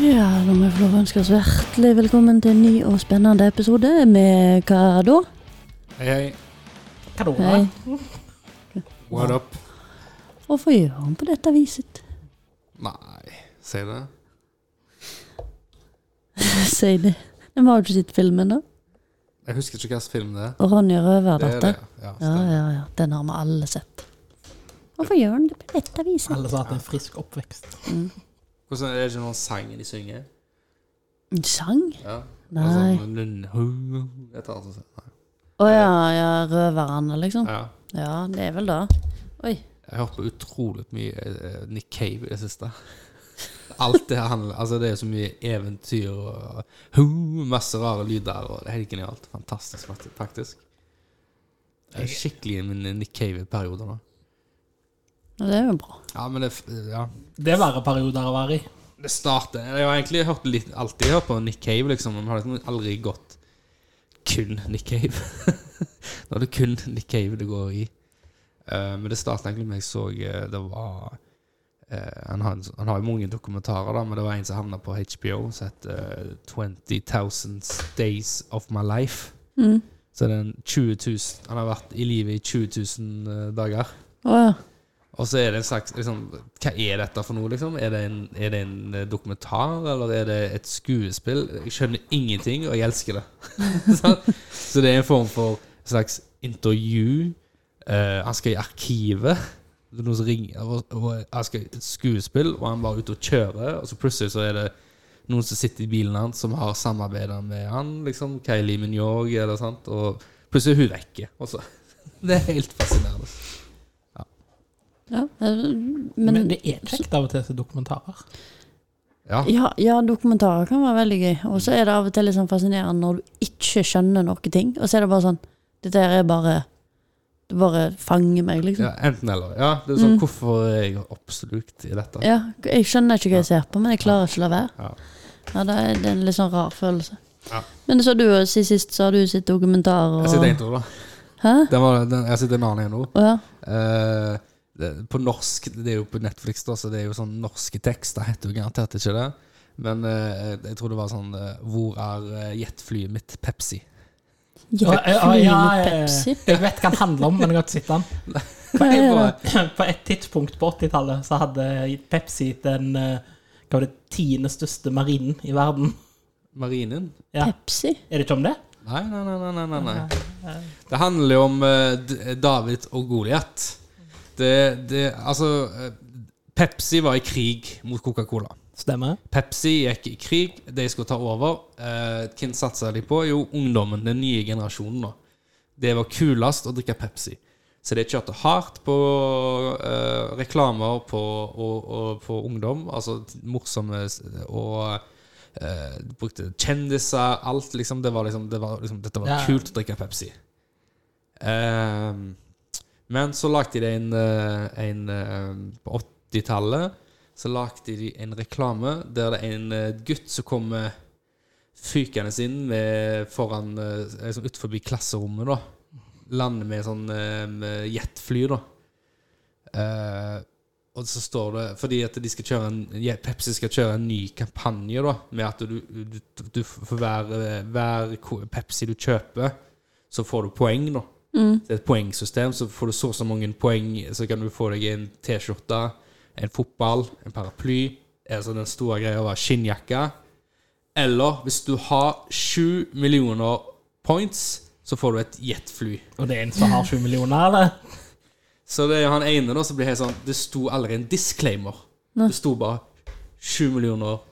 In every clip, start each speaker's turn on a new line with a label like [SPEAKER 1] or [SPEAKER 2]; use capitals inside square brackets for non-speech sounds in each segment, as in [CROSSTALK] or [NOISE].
[SPEAKER 1] Ja, da må vi få lov å ønske oss hjertelig velkommen til en ny og spennende episode med hva da?
[SPEAKER 2] Hei, hei.
[SPEAKER 3] Hva da?
[SPEAKER 1] Hei.
[SPEAKER 2] What up?
[SPEAKER 1] Hvorfor gjør han på dette viset? [LAUGHS]
[SPEAKER 2] Nei, si det.
[SPEAKER 1] Si det. Den var jo ikke sitt filmen da.
[SPEAKER 2] Jeg husker ikke hvilken film det er.
[SPEAKER 1] Og Ronja
[SPEAKER 2] Det er det.
[SPEAKER 1] Røverdatter.
[SPEAKER 2] Ja,
[SPEAKER 1] Ja,
[SPEAKER 2] stemmer.
[SPEAKER 1] ja, ja. Den har vi alle sett. Hvorfor gjør han det på dette viset?
[SPEAKER 3] Alle som har hatt en frisk oppvekst.
[SPEAKER 2] Hvordan er det ikke noen sang de synger?
[SPEAKER 1] En sang?
[SPEAKER 2] Ja.
[SPEAKER 1] Nei.
[SPEAKER 2] Sånn, nun, hu, et eller annet sånt. Nei.
[SPEAKER 1] Å ja, ja, røverne liksom.
[SPEAKER 2] Ja.
[SPEAKER 1] Ja, det er vel det. Oi.
[SPEAKER 2] Jeg har hørt på utrolig mye eh, eh, Nick Cave i det siste. Alt det handler Altså, det er så mye eventyr og hu, masse rare lyder, og det er helt genialt. Fantastisk, fakt- faktisk. Jeg er skikkelig i min Nick Cave-periode nå.
[SPEAKER 1] Ja, Det er jo bra.
[SPEAKER 2] Ja, men det f- Ja.
[SPEAKER 3] Det er verre perioder å være i.
[SPEAKER 2] Det starter Jeg har egentlig hørt litt, alltid hørt på Nick Cave, liksom, men har liksom aldri gått kun Nick Cave. [LAUGHS] Nå er det kun Nick Cave det går i. Eh, men det startet egentlig med jeg så eh, Det var eh, han, har, en sånn- han har jo mange dokumentarer, da, men det var en som havna på HBO som het eh, 20,000 Days of My Life.
[SPEAKER 1] Mm.
[SPEAKER 2] Så det er en 20 000 Han har vært i livet i 20 000 eh, dager.
[SPEAKER 1] Å ja.
[SPEAKER 2] Og så er det en slags liksom, Hva er dette for noe, liksom? Er det, en, er det en eh, dokumentar, eller er det et skuespill? Jeg skjønner ingenting, og jeg elsker det. [LAUGHS] Sant? så det er en form for et slags intervju. Eh, han skal i arkivet. Det er noen som ringer, og, og han skal i et skuespill, og han bare er ute og kjører, og så plutselig så er det noen som sitter i bilen hans, som har samarbeida med han, liksom. Kylie Minogue, eller sant. Og plutselig er hun vekke, også. [LAUGHS] Det er helt fascinerende.
[SPEAKER 1] ja. Men,
[SPEAKER 3] Men,
[SPEAKER 1] men
[SPEAKER 3] det er kjekt av og til til dokumentarer.
[SPEAKER 2] Ja.
[SPEAKER 1] ja, ja, dokumentarer kan være veldig gøy. Og så er det av og til litt sånn fascinerende når du ikke skjønner noen ting. Og så er det bare sånn Dette her er bare Det bare fanger meg, liksom.
[SPEAKER 2] Ja, enten eller. Ja, det er sånn, Hvorfor er jeg oppslukt i dette?
[SPEAKER 1] Ja, jeg skjønner ikke hva jeg ser på, men jeg klarer ikke å la være.
[SPEAKER 2] Ja.
[SPEAKER 1] Ja, det er, det er en litt sånn rar følelse.
[SPEAKER 2] Ja.
[SPEAKER 1] Men så du sist, sist så har du sett dokumentar
[SPEAKER 2] Jeg sitter
[SPEAKER 1] og
[SPEAKER 2] en til, da.
[SPEAKER 1] Hæ?
[SPEAKER 2] Den var, den, jeg sitter en annen en nå.
[SPEAKER 1] Å ja.
[SPEAKER 2] Eh, det- på norsk Det er jo på Netflix, da, så det er jo sånn norske tekster heter jo garantert ikke det. Men eh, jeg tror det var sånn eh, Hvor er eh, jetflyet mitt Pepsi?
[SPEAKER 3] Ja, ja,
[SPEAKER 1] Jetfly
[SPEAKER 3] ja,
[SPEAKER 1] med
[SPEAKER 3] ja.
[SPEAKER 1] Pepsi.
[SPEAKER 3] Jeg vet hva den handler om, men jeg har ikke sett den. [CLEARS THROAT]
[SPEAKER 1] Hva er det?
[SPEAKER 3] På et tidspunkt på 80-tallet så hadde Pepsi den eh, hva var det, tiende største marinen i verden.
[SPEAKER 2] Marinen?
[SPEAKER 3] Ja.
[SPEAKER 1] Pepsi?
[SPEAKER 3] Er det ikke om det?
[SPEAKER 2] Nei, nei, nei. nei, nei, nei, nei. Det handler jo om eh, D- David og Goliat. Det, det Altså eh, Pepsi var i krig mot Coca-Cola.
[SPEAKER 3] Stemmer.
[SPEAKER 2] Pepsi gikk i krig, de skulle ta over. Eh, hvem satsa de på? Jo, ungdommen. Den nye generasjonen. da. Det var kulest å drikke Pepsi. Så de kjørte hardt på eh, reklamer på, og, og på ungdom. Altså morsomme s- og eh, Brukte kjendiser, alt, liksom. Det var liksom, det var, liksom Dette var
[SPEAKER 3] Ja.
[SPEAKER 2] kult å drikke Pepsi. Ehm, men så lagde de en, eh, en eh, På 80-tallet så lagde de en reklame der det er en eh, gutt som kommer fykende inn med, foran eh, liksom utenfor klasserommet, da. Lander med sånn eh, med jetfly, da. Eh, og så står det Fordi at de skal kjøre en, ja, Pepsi skal kjøre en ny kampanje, da, med at du, du, du for hver, eh, hver ko- Pepsi du kjøper, så får du poeng, da. Det er et poengsystem, så får du så og så mange poeng, så kan du få deg en T-skjorte, en fotball, en paraply, altså den store greia var skinnjakke. Eller hvis du har sju millioner points, så får du et jetfly.
[SPEAKER 3] Og det er en som har 7 millioner, eller?
[SPEAKER 2] Så det er jo han ene da som blir helt sånn Det sto aldri en disclaimer. Det sto bare 7 millioner.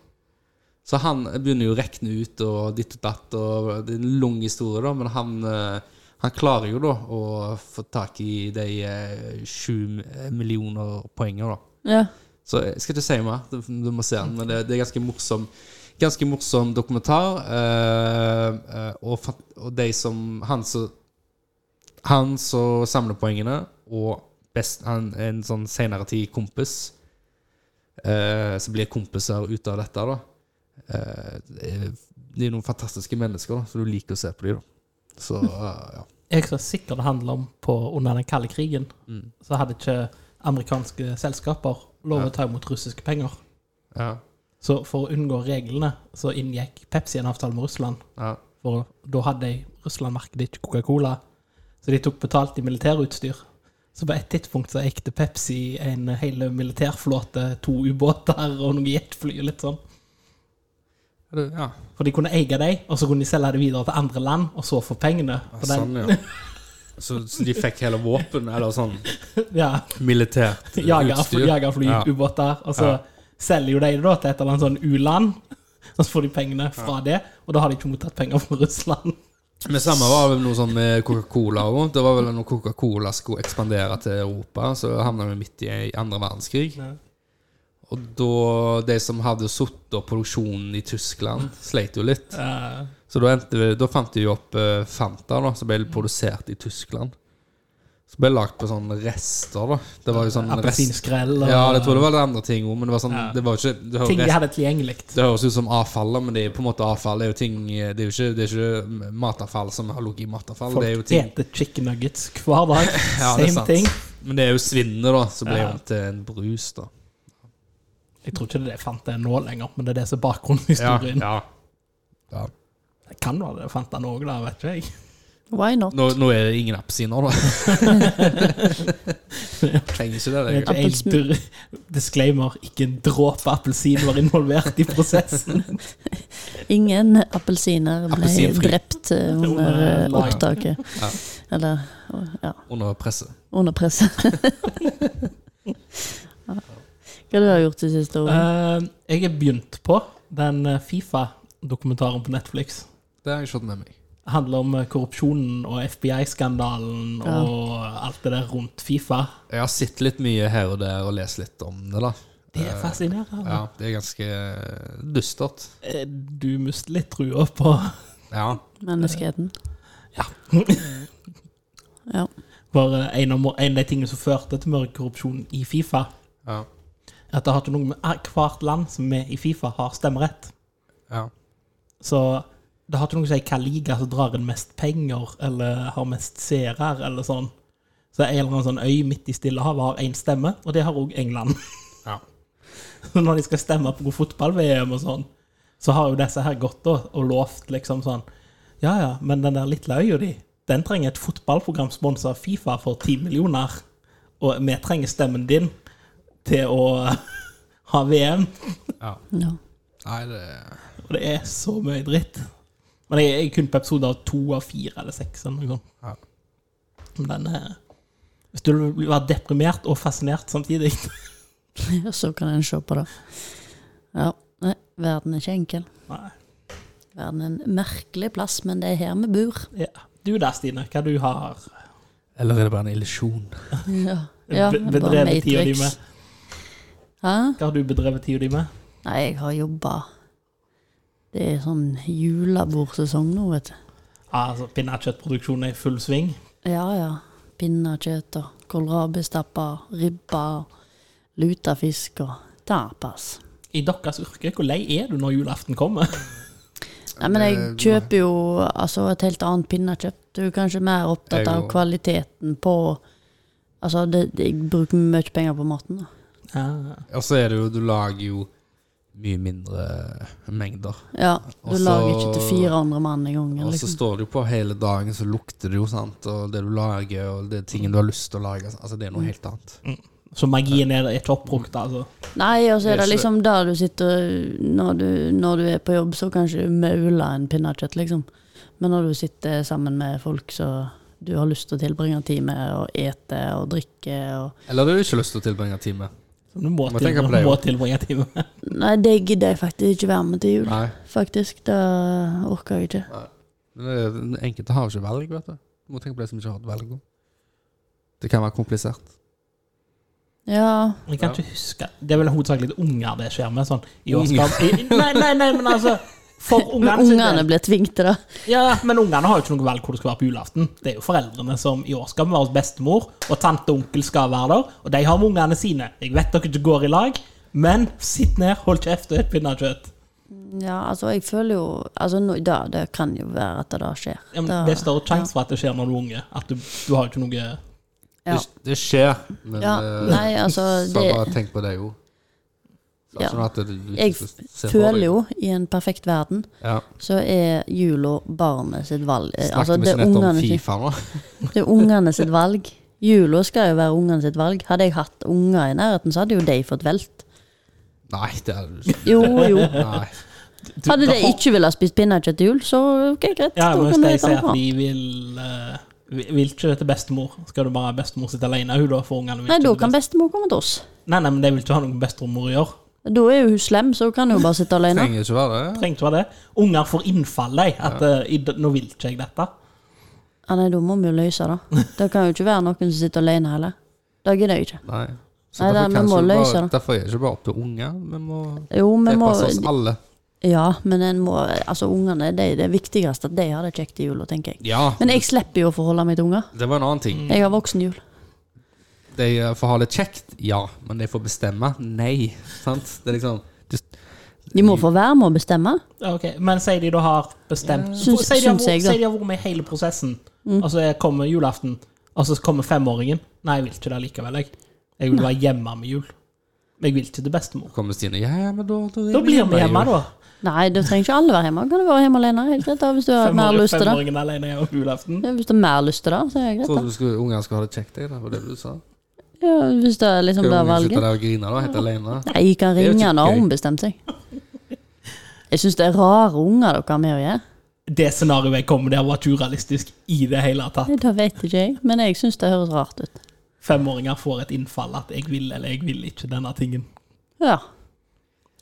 [SPEAKER 2] Så han begynner jo å rekne ut og ditt og datt, og det er en lang historie, da, men han, eh, han klarer jo da å få tak i de eh, sju millioner poengene, da.
[SPEAKER 1] Ja.
[SPEAKER 2] Så jeg skal ikke si mer, du, du må se den. Men det, det er ganske morsom Ganske morsom dokumentar. eh, eh, og, fa- og de som Han som Han som samler poengene, og best, han, en sånn senere tid kompis eh, som blir kompiser ut av dette, da. Eh, de er noen fantastiske mennesker, da, så du liker å se på dem, da. [LAUGHS] Så eh, ja.
[SPEAKER 3] Jeg er sikker det handler om på under den kalde krigen.
[SPEAKER 2] Mm.
[SPEAKER 3] Så hadde ikke amerikanske selskaper lov å ta imot russiske penger.
[SPEAKER 2] ja.
[SPEAKER 3] Så for å unngå reglene, så inngikk Pepsi en avtale med Russland.
[SPEAKER 2] Ja.
[SPEAKER 3] For da hadde jeg Russland-merket ikke Coca-Cola, så de tok betalt i militærutstyr. Så på et tidspunkt så eikte Pepsi en hel militærflåte, to ubåter og noen jetfly og litt sånn.
[SPEAKER 2] Er det- ja.
[SPEAKER 3] For de kunne eie dem, og så kunne de selge det videre til andre land, og så få pengene. For den,
[SPEAKER 2] Sånn, [LAUGHS] ja. Så, så de fikk hele våpen, eller sånn
[SPEAKER 3] [LAUGHS] ja, [LAUGHS]
[SPEAKER 2] militært eh,
[SPEAKER 3] Jagerfly,
[SPEAKER 2] utstyr?
[SPEAKER 3] jagerfly
[SPEAKER 2] Ja.
[SPEAKER 3] ubåter. Og så
[SPEAKER 2] Ja.
[SPEAKER 3] selger jo de det da til et eller annet sånn u-land. [LAUGHS] Og så får de pengene fra det, og da har de ikke mottatt penger fra Russland.
[SPEAKER 2] Men samme var vel noe sånn med Coca-Cola òg. Det var vel når Coca-Cola skulle ekspandere til Europa, så havna vi midt i ei andre verdenskrig.
[SPEAKER 3] Ja.
[SPEAKER 2] Og da de som hadde sittet og produksjonen i Tyskland, sleit jo litt.
[SPEAKER 3] [LAUGHS] Eh,
[SPEAKER 2] Så da, endte vi, da fant vi opp eh, Fanta, da, som ble
[SPEAKER 3] Mm.
[SPEAKER 2] produsert i Tyskland. Som ble lagd på sånne rester, da. Det var jo sånn rest...
[SPEAKER 3] Appelsinskrell og
[SPEAKER 2] Ja, jeg tror det var det andre ting òg, men det var sånn
[SPEAKER 3] Ja.
[SPEAKER 2] Det var jo ikke det var
[SPEAKER 3] ting de
[SPEAKER 2] rest-
[SPEAKER 3] hadde tilgjengelig.
[SPEAKER 2] det høres ut som avfall, men det er jo på en måte avfall. Det er jo ting Det er jo ikke, det er ikke matavfall som har ligget i matavfall.
[SPEAKER 3] Folk
[SPEAKER 2] det er jo ting
[SPEAKER 3] eter chicken nuggets hver dag.
[SPEAKER 2] [LAUGHS] Ja, det er
[SPEAKER 3] Same
[SPEAKER 2] sant.
[SPEAKER 3] ting.
[SPEAKER 2] Men det er jo svinnet, da, som ble
[SPEAKER 3] Ja.
[SPEAKER 2] om til en brus, da.
[SPEAKER 3] Jeg tror ikke det er det Fanta er nå lenger, men det er det som er
[SPEAKER 2] Ja,
[SPEAKER 3] bakgrunnshistorien.
[SPEAKER 2] ja. ja.
[SPEAKER 3] Det kan være det er Fanta nå òg, da, vet ikke jeg.
[SPEAKER 1] Why not?
[SPEAKER 2] Nå, nå er det ingen
[SPEAKER 3] [LAUGHS]
[SPEAKER 2] appelsiner, da. Trenger ikke det.
[SPEAKER 3] Det er
[SPEAKER 2] det.
[SPEAKER 3] ikke jeg dur- disclaimer, ikke en dråpe appelsin var involvert i prosessen.
[SPEAKER 1] Ingen appelsiner ble
[SPEAKER 2] Appelsinfri.
[SPEAKER 1] drept eh, under eh,
[SPEAKER 3] Under laget.
[SPEAKER 1] opptaket.
[SPEAKER 2] Ja.
[SPEAKER 1] Eller ja,
[SPEAKER 2] Under presset.
[SPEAKER 1] under presset. Ja. Hva du har du gjort de siste årene?
[SPEAKER 3] Eh, jeg har begynt på den eh, Fifa-dokumentaren på Netflix.
[SPEAKER 2] Det har jeg ikke fått med meg.
[SPEAKER 3] Det handler om eh, korrupsjonen og FBI-skandalen
[SPEAKER 1] Ja.
[SPEAKER 3] og alt det der rundt Fifa.
[SPEAKER 2] Jeg har sett litt mye her og der og lest litt om det, da.
[SPEAKER 3] Det er fascinerende.
[SPEAKER 2] Eh, Ja, Det er ganske dystert.
[SPEAKER 3] Eh, Du mister litt trua på [LAUGHS]
[SPEAKER 2] Ja.
[SPEAKER 1] Menneskeheten?
[SPEAKER 3] Ja.
[SPEAKER 1] Ja.
[SPEAKER 3] For eh, en av, en av de tingene som førte til mørkekorrupsjon i Fifa,
[SPEAKER 2] Ja.
[SPEAKER 3] er at det har ikke noe med hvert land som er i Fifa, har stemmerett.
[SPEAKER 2] ja.
[SPEAKER 3] Så det har ikke noe å si hva liga som drar inn mest penger, eller har mest seere, eller sånn. Så en eller annen sånn øy midt i Stillehavet har én stemme, og det har òg England.
[SPEAKER 2] ja.
[SPEAKER 3] Så [LAUGHS] Når de skal stemme på god fotball-VM og sånn, så har jo disse her gått da, og lovt liksom sånn Ja ja, men den der lille øya di, den trenger et fotballprogram sponsa av Fifa for 10 millioner. Og vi trenger stemmen din til å [LAUGHS] ha VM.
[SPEAKER 2] ja.
[SPEAKER 1] ja.
[SPEAKER 2] Nei, det
[SPEAKER 3] Og det er så mye dritt. Men jeg jeg er kun på episode av to av fire eller seks. Eller noe sånt.
[SPEAKER 2] Ja.
[SPEAKER 3] Men den er Hvis du vil være deprimert og fascinert samtidig [LAUGHS]
[SPEAKER 1] Så kan en se på det. Ja. Nei, verden er ikke enkel.
[SPEAKER 3] Nei.
[SPEAKER 1] Verden er en merkelig plass, men det er her vi bor.
[SPEAKER 3] Ja. Du der, Stine, hva du har
[SPEAKER 2] Eller er det bare en illusjon?
[SPEAKER 1] Ja. Ja,
[SPEAKER 3] be-
[SPEAKER 1] bare
[SPEAKER 3] bedrevet tida di
[SPEAKER 1] Matrix.
[SPEAKER 3] med?
[SPEAKER 1] Hæ?
[SPEAKER 3] Hva har du bedrevet tida di med?
[SPEAKER 1] Nei, jeg har jobba. Det er sånn julebordsesong nå, vet du.
[SPEAKER 3] Altså, Pinnekjøttproduksjonen er i full sving.
[SPEAKER 1] Ja, ja. Pinnekjøtt og kålrabistapper, ribba, lutefisk og tapas.
[SPEAKER 3] I deres yrke, hvor lei er du når julaften kommer? [LAUGHS]
[SPEAKER 1] Nei, men jeg
[SPEAKER 2] Det-
[SPEAKER 1] kjøper jo altså, et helt annet pinnekjøtt. Du er kanskje mer opptatt
[SPEAKER 2] Jeg
[SPEAKER 1] av
[SPEAKER 2] òg.
[SPEAKER 1] kvaliteten på Altså, det, det, jeg bruker mye penger på maten. Da.
[SPEAKER 3] Ja.
[SPEAKER 2] Og så er det jo Du lager jo mye mindre mengder.
[SPEAKER 1] Ja, du
[SPEAKER 2] Og så-
[SPEAKER 1] lager ikke til 400 mann i gangen.
[SPEAKER 2] Og så
[SPEAKER 1] Liksom.
[SPEAKER 2] står det jo på hele dagen, så lukter det jo, sant. Og det du lager, og det er tingen du har lyst til å lage. Altså, det er
[SPEAKER 1] Mm.
[SPEAKER 2] noe helt annet.
[SPEAKER 3] Så magien er er ikke oppbrukt, altså.
[SPEAKER 1] Nei, og så er
[SPEAKER 2] Det er
[SPEAKER 1] det
[SPEAKER 2] ikke-
[SPEAKER 1] liksom der du sitter når du, når du er på jobb, så kanskje du mauler en pinnekjøtt, liksom. Men når du sitter sammen med folk som du har lyst til å tilbringe tid med, og ete og drikke og
[SPEAKER 2] Eller du har ikke lyst til å tilbringe en time.
[SPEAKER 3] Så Du må,
[SPEAKER 2] Må
[SPEAKER 3] til,
[SPEAKER 2] tenke på det,
[SPEAKER 3] må
[SPEAKER 2] jo.
[SPEAKER 3] tilbringe [LAUGHS] en time.
[SPEAKER 1] Nei, det gidder jeg faktisk ikke være med til jul.
[SPEAKER 2] Nei.
[SPEAKER 1] Faktisk, det orker jeg ikke.
[SPEAKER 2] Men det er- den Enkelte har jo ikke valg, vet du. Du må tenke på de som ikke har et valg. også. Det kan være komplisert.
[SPEAKER 1] Ja,
[SPEAKER 3] Jeg kan ikke huske Det er vel hovedsakelig unger det skjer med. Sånn, i år skal, i, nei, nei, nei, men altså For
[SPEAKER 1] men
[SPEAKER 3] ungene sin del.
[SPEAKER 1] ungene blir tvunget til det.
[SPEAKER 3] Ja, men ungene har jo ikke noe valg hvor det skal være på julaften. Det er jo foreldrene som i år skal vi være hos bestemor, og tante og onkel skal være der. Og de har med ungene sine. Jeg vet dere ikke går i lag, men sitt ned, hold kjeft og et pinnekjøtt.
[SPEAKER 1] Ja, altså, jeg føler jo Altså, nå, da, det kan jo være at det da skjer.
[SPEAKER 3] Ja, men
[SPEAKER 1] Da-
[SPEAKER 3] Det er større sjanse for at det skjer når du er unge. At du, du har ikke noe
[SPEAKER 1] Ja.
[SPEAKER 2] Det, det skjer, men
[SPEAKER 1] Ja,
[SPEAKER 2] eh,
[SPEAKER 1] nei, altså,
[SPEAKER 2] så
[SPEAKER 1] det-
[SPEAKER 2] bare tenk på det jo.
[SPEAKER 1] Ja.
[SPEAKER 2] Sånn at du
[SPEAKER 1] Jeg
[SPEAKER 2] ikke ser for
[SPEAKER 1] føler
[SPEAKER 2] deg.
[SPEAKER 1] jo, i en perfekt verden,
[SPEAKER 2] ja.
[SPEAKER 1] så er jula barnet sitt valg. Eh,
[SPEAKER 2] Snakket
[SPEAKER 1] Altså,
[SPEAKER 2] vi
[SPEAKER 1] det,
[SPEAKER 2] ikke
[SPEAKER 1] er
[SPEAKER 2] nettopp om
[SPEAKER 1] ungene sitt,
[SPEAKER 2] Fifa nå?
[SPEAKER 1] det er ungene sitt valg. Jula skal jo være ungene sitt valg. Hadde jeg hatt unger i nærheten, så hadde jo de fått velt.
[SPEAKER 2] Nei, det er du ikke.
[SPEAKER 1] Jo, jo.
[SPEAKER 2] Nei.
[SPEAKER 3] [LAUGHS] Du-
[SPEAKER 1] Hadde de
[SPEAKER 3] da-
[SPEAKER 1] ikke villet spise pinnekjøtt til jul, så ok, greit.
[SPEAKER 3] Ja,
[SPEAKER 1] da
[SPEAKER 3] men
[SPEAKER 1] kan vi
[SPEAKER 3] hvis
[SPEAKER 1] ta
[SPEAKER 3] de
[SPEAKER 1] det
[SPEAKER 3] sier
[SPEAKER 1] fra.
[SPEAKER 3] at de vil eh, vi- Vil ikke det til bestemor, skal du bare ha bestemor sitte alene hun da, for ungene vil
[SPEAKER 1] Nei,
[SPEAKER 3] ikke
[SPEAKER 1] da
[SPEAKER 3] til
[SPEAKER 1] kan
[SPEAKER 3] best-
[SPEAKER 1] bestemor komme til oss.
[SPEAKER 3] Nei, nei, men de vil ikke ha noe med bestemor å gjøre.
[SPEAKER 1] Da er jo hun slem, så hun kan jo bare sitte alene.
[SPEAKER 2] Trenger ikke være det.
[SPEAKER 3] Trenger ikke være det. Unger får innfall, de. At eh, i, d- 'Nå vil ikke jeg dette'.
[SPEAKER 1] Ja, nei, da må vi jo løse det. Det kan jo ikke være noen som sitter alene heller. Det gidder jeg ikke.
[SPEAKER 2] Nei.
[SPEAKER 1] Nei, det-
[SPEAKER 2] derfor
[SPEAKER 1] vi
[SPEAKER 2] kan
[SPEAKER 1] må
[SPEAKER 2] ikke
[SPEAKER 1] løse
[SPEAKER 2] bare,
[SPEAKER 1] det.
[SPEAKER 2] Derfor er det ikke bare opp til unger. Vi må
[SPEAKER 1] Jo, vi må
[SPEAKER 2] tilpasse oss alle.
[SPEAKER 1] Ja, men en må Altså, ungene, det er det viktigste at de har det kjekt i jula, tenker jeg.
[SPEAKER 2] Ja,
[SPEAKER 1] Men jeg slipper jo å forholde meg til unger.
[SPEAKER 2] det var en annen ting.
[SPEAKER 1] Jeg har voksen jul.
[SPEAKER 2] De eh, får ha det kjekt, ja. Men de får bestemme, nei. [LAUGHS] Sant? Det er liksom
[SPEAKER 1] De må få være med å bestemme.
[SPEAKER 3] Ja, ok. Men sier de da har bestemt
[SPEAKER 1] Syns-
[SPEAKER 3] Sier de, har
[SPEAKER 1] syns jeg,
[SPEAKER 3] vært-
[SPEAKER 1] da. Mm.
[SPEAKER 3] sier de har vært med i hele prosessen, og så er- kommer julaften, og så kommer femåringen. Nei, jeg vil ikke det likevel, jeg. Jeg vil være hjemme med jul. Men jeg vil ikke til bestemor.
[SPEAKER 2] kommer Stine. Ja, ja, men da Da,
[SPEAKER 1] Mm.
[SPEAKER 3] Da blir vi hjemme, da.
[SPEAKER 1] Nei, da trenger ikke alle være hjemme. Kan du være hjemme alene? Helt greit, da, hvis du har mer
[SPEAKER 3] Femåring-
[SPEAKER 1] lyst til det.
[SPEAKER 3] Femåringen alene hjemme på julaften.
[SPEAKER 1] Ja, Hvis du har mer lyst til det, så er det greit.
[SPEAKER 2] Trodde du skulle, ungene skulle ha det kjekt, jeg. Det var det du sa.
[SPEAKER 1] da. Ja, hvis det er liksom
[SPEAKER 2] Skal
[SPEAKER 1] det
[SPEAKER 2] ungene sitte
[SPEAKER 1] valget.
[SPEAKER 2] der og grine da, helt alene?
[SPEAKER 1] Nei, jeg kan
[SPEAKER 2] Det er jo
[SPEAKER 1] ringe
[SPEAKER 2] ikke
[SPEAKER 1] han og
[SPEAKER 2] gøy.
[SPEAKER 1] ombestemt seg. Jeg syns det er rare unger dere har med å gjøre.
[SPEAKER 3] Det scenarioet jeg kom med der, var ikke urealistisk i det hele tatt.
[SPEAKER 1] Nei, Det vet ikke jeg, men jeg syns det høres rart ut.
[SPEAKER 3] Femåringer får et innfall at 'jeg vil eller jeg vil ikke denne tingen'.
[SPEAKER 1] Ja.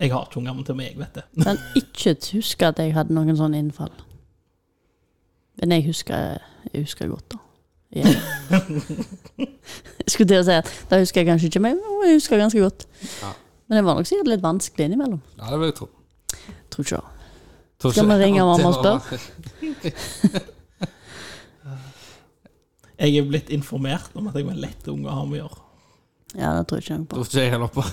[SPEAKER 3] Jeg har ikke unger til meg, vet du.
[SPEAKER 1] Kan ikke huske at jeg hadde noen sånne innfall. Men jeg husker, jeg husker godt, da. Jeg, jeg skulle til å si at da husker jeg kanskje ikke meg, men jeg husker ganske godt.
[SPEAKER 2] Ja.
[SPEAKER 1] Men det var nok sikkert litt vanskelig innimellom.
[SPEAKER 2] Ja, det vil jeg tro.
[SPEAKER 1] Tror ikke det.
[SPEAKER 2] Tror
[SPEAKER 1] Skal
[SPEAKER 2] ikke-
[SPEAKER 1] vi ringe mamma og
[SPEAKER 3] Jeg er blitt informert om at jeg var en lett unge å ha med å gjøre.
[SPEAKER 1] Ja, det tror jeg ikke noe på.
[SPEAKER 2] Tror ikke jeg heller på.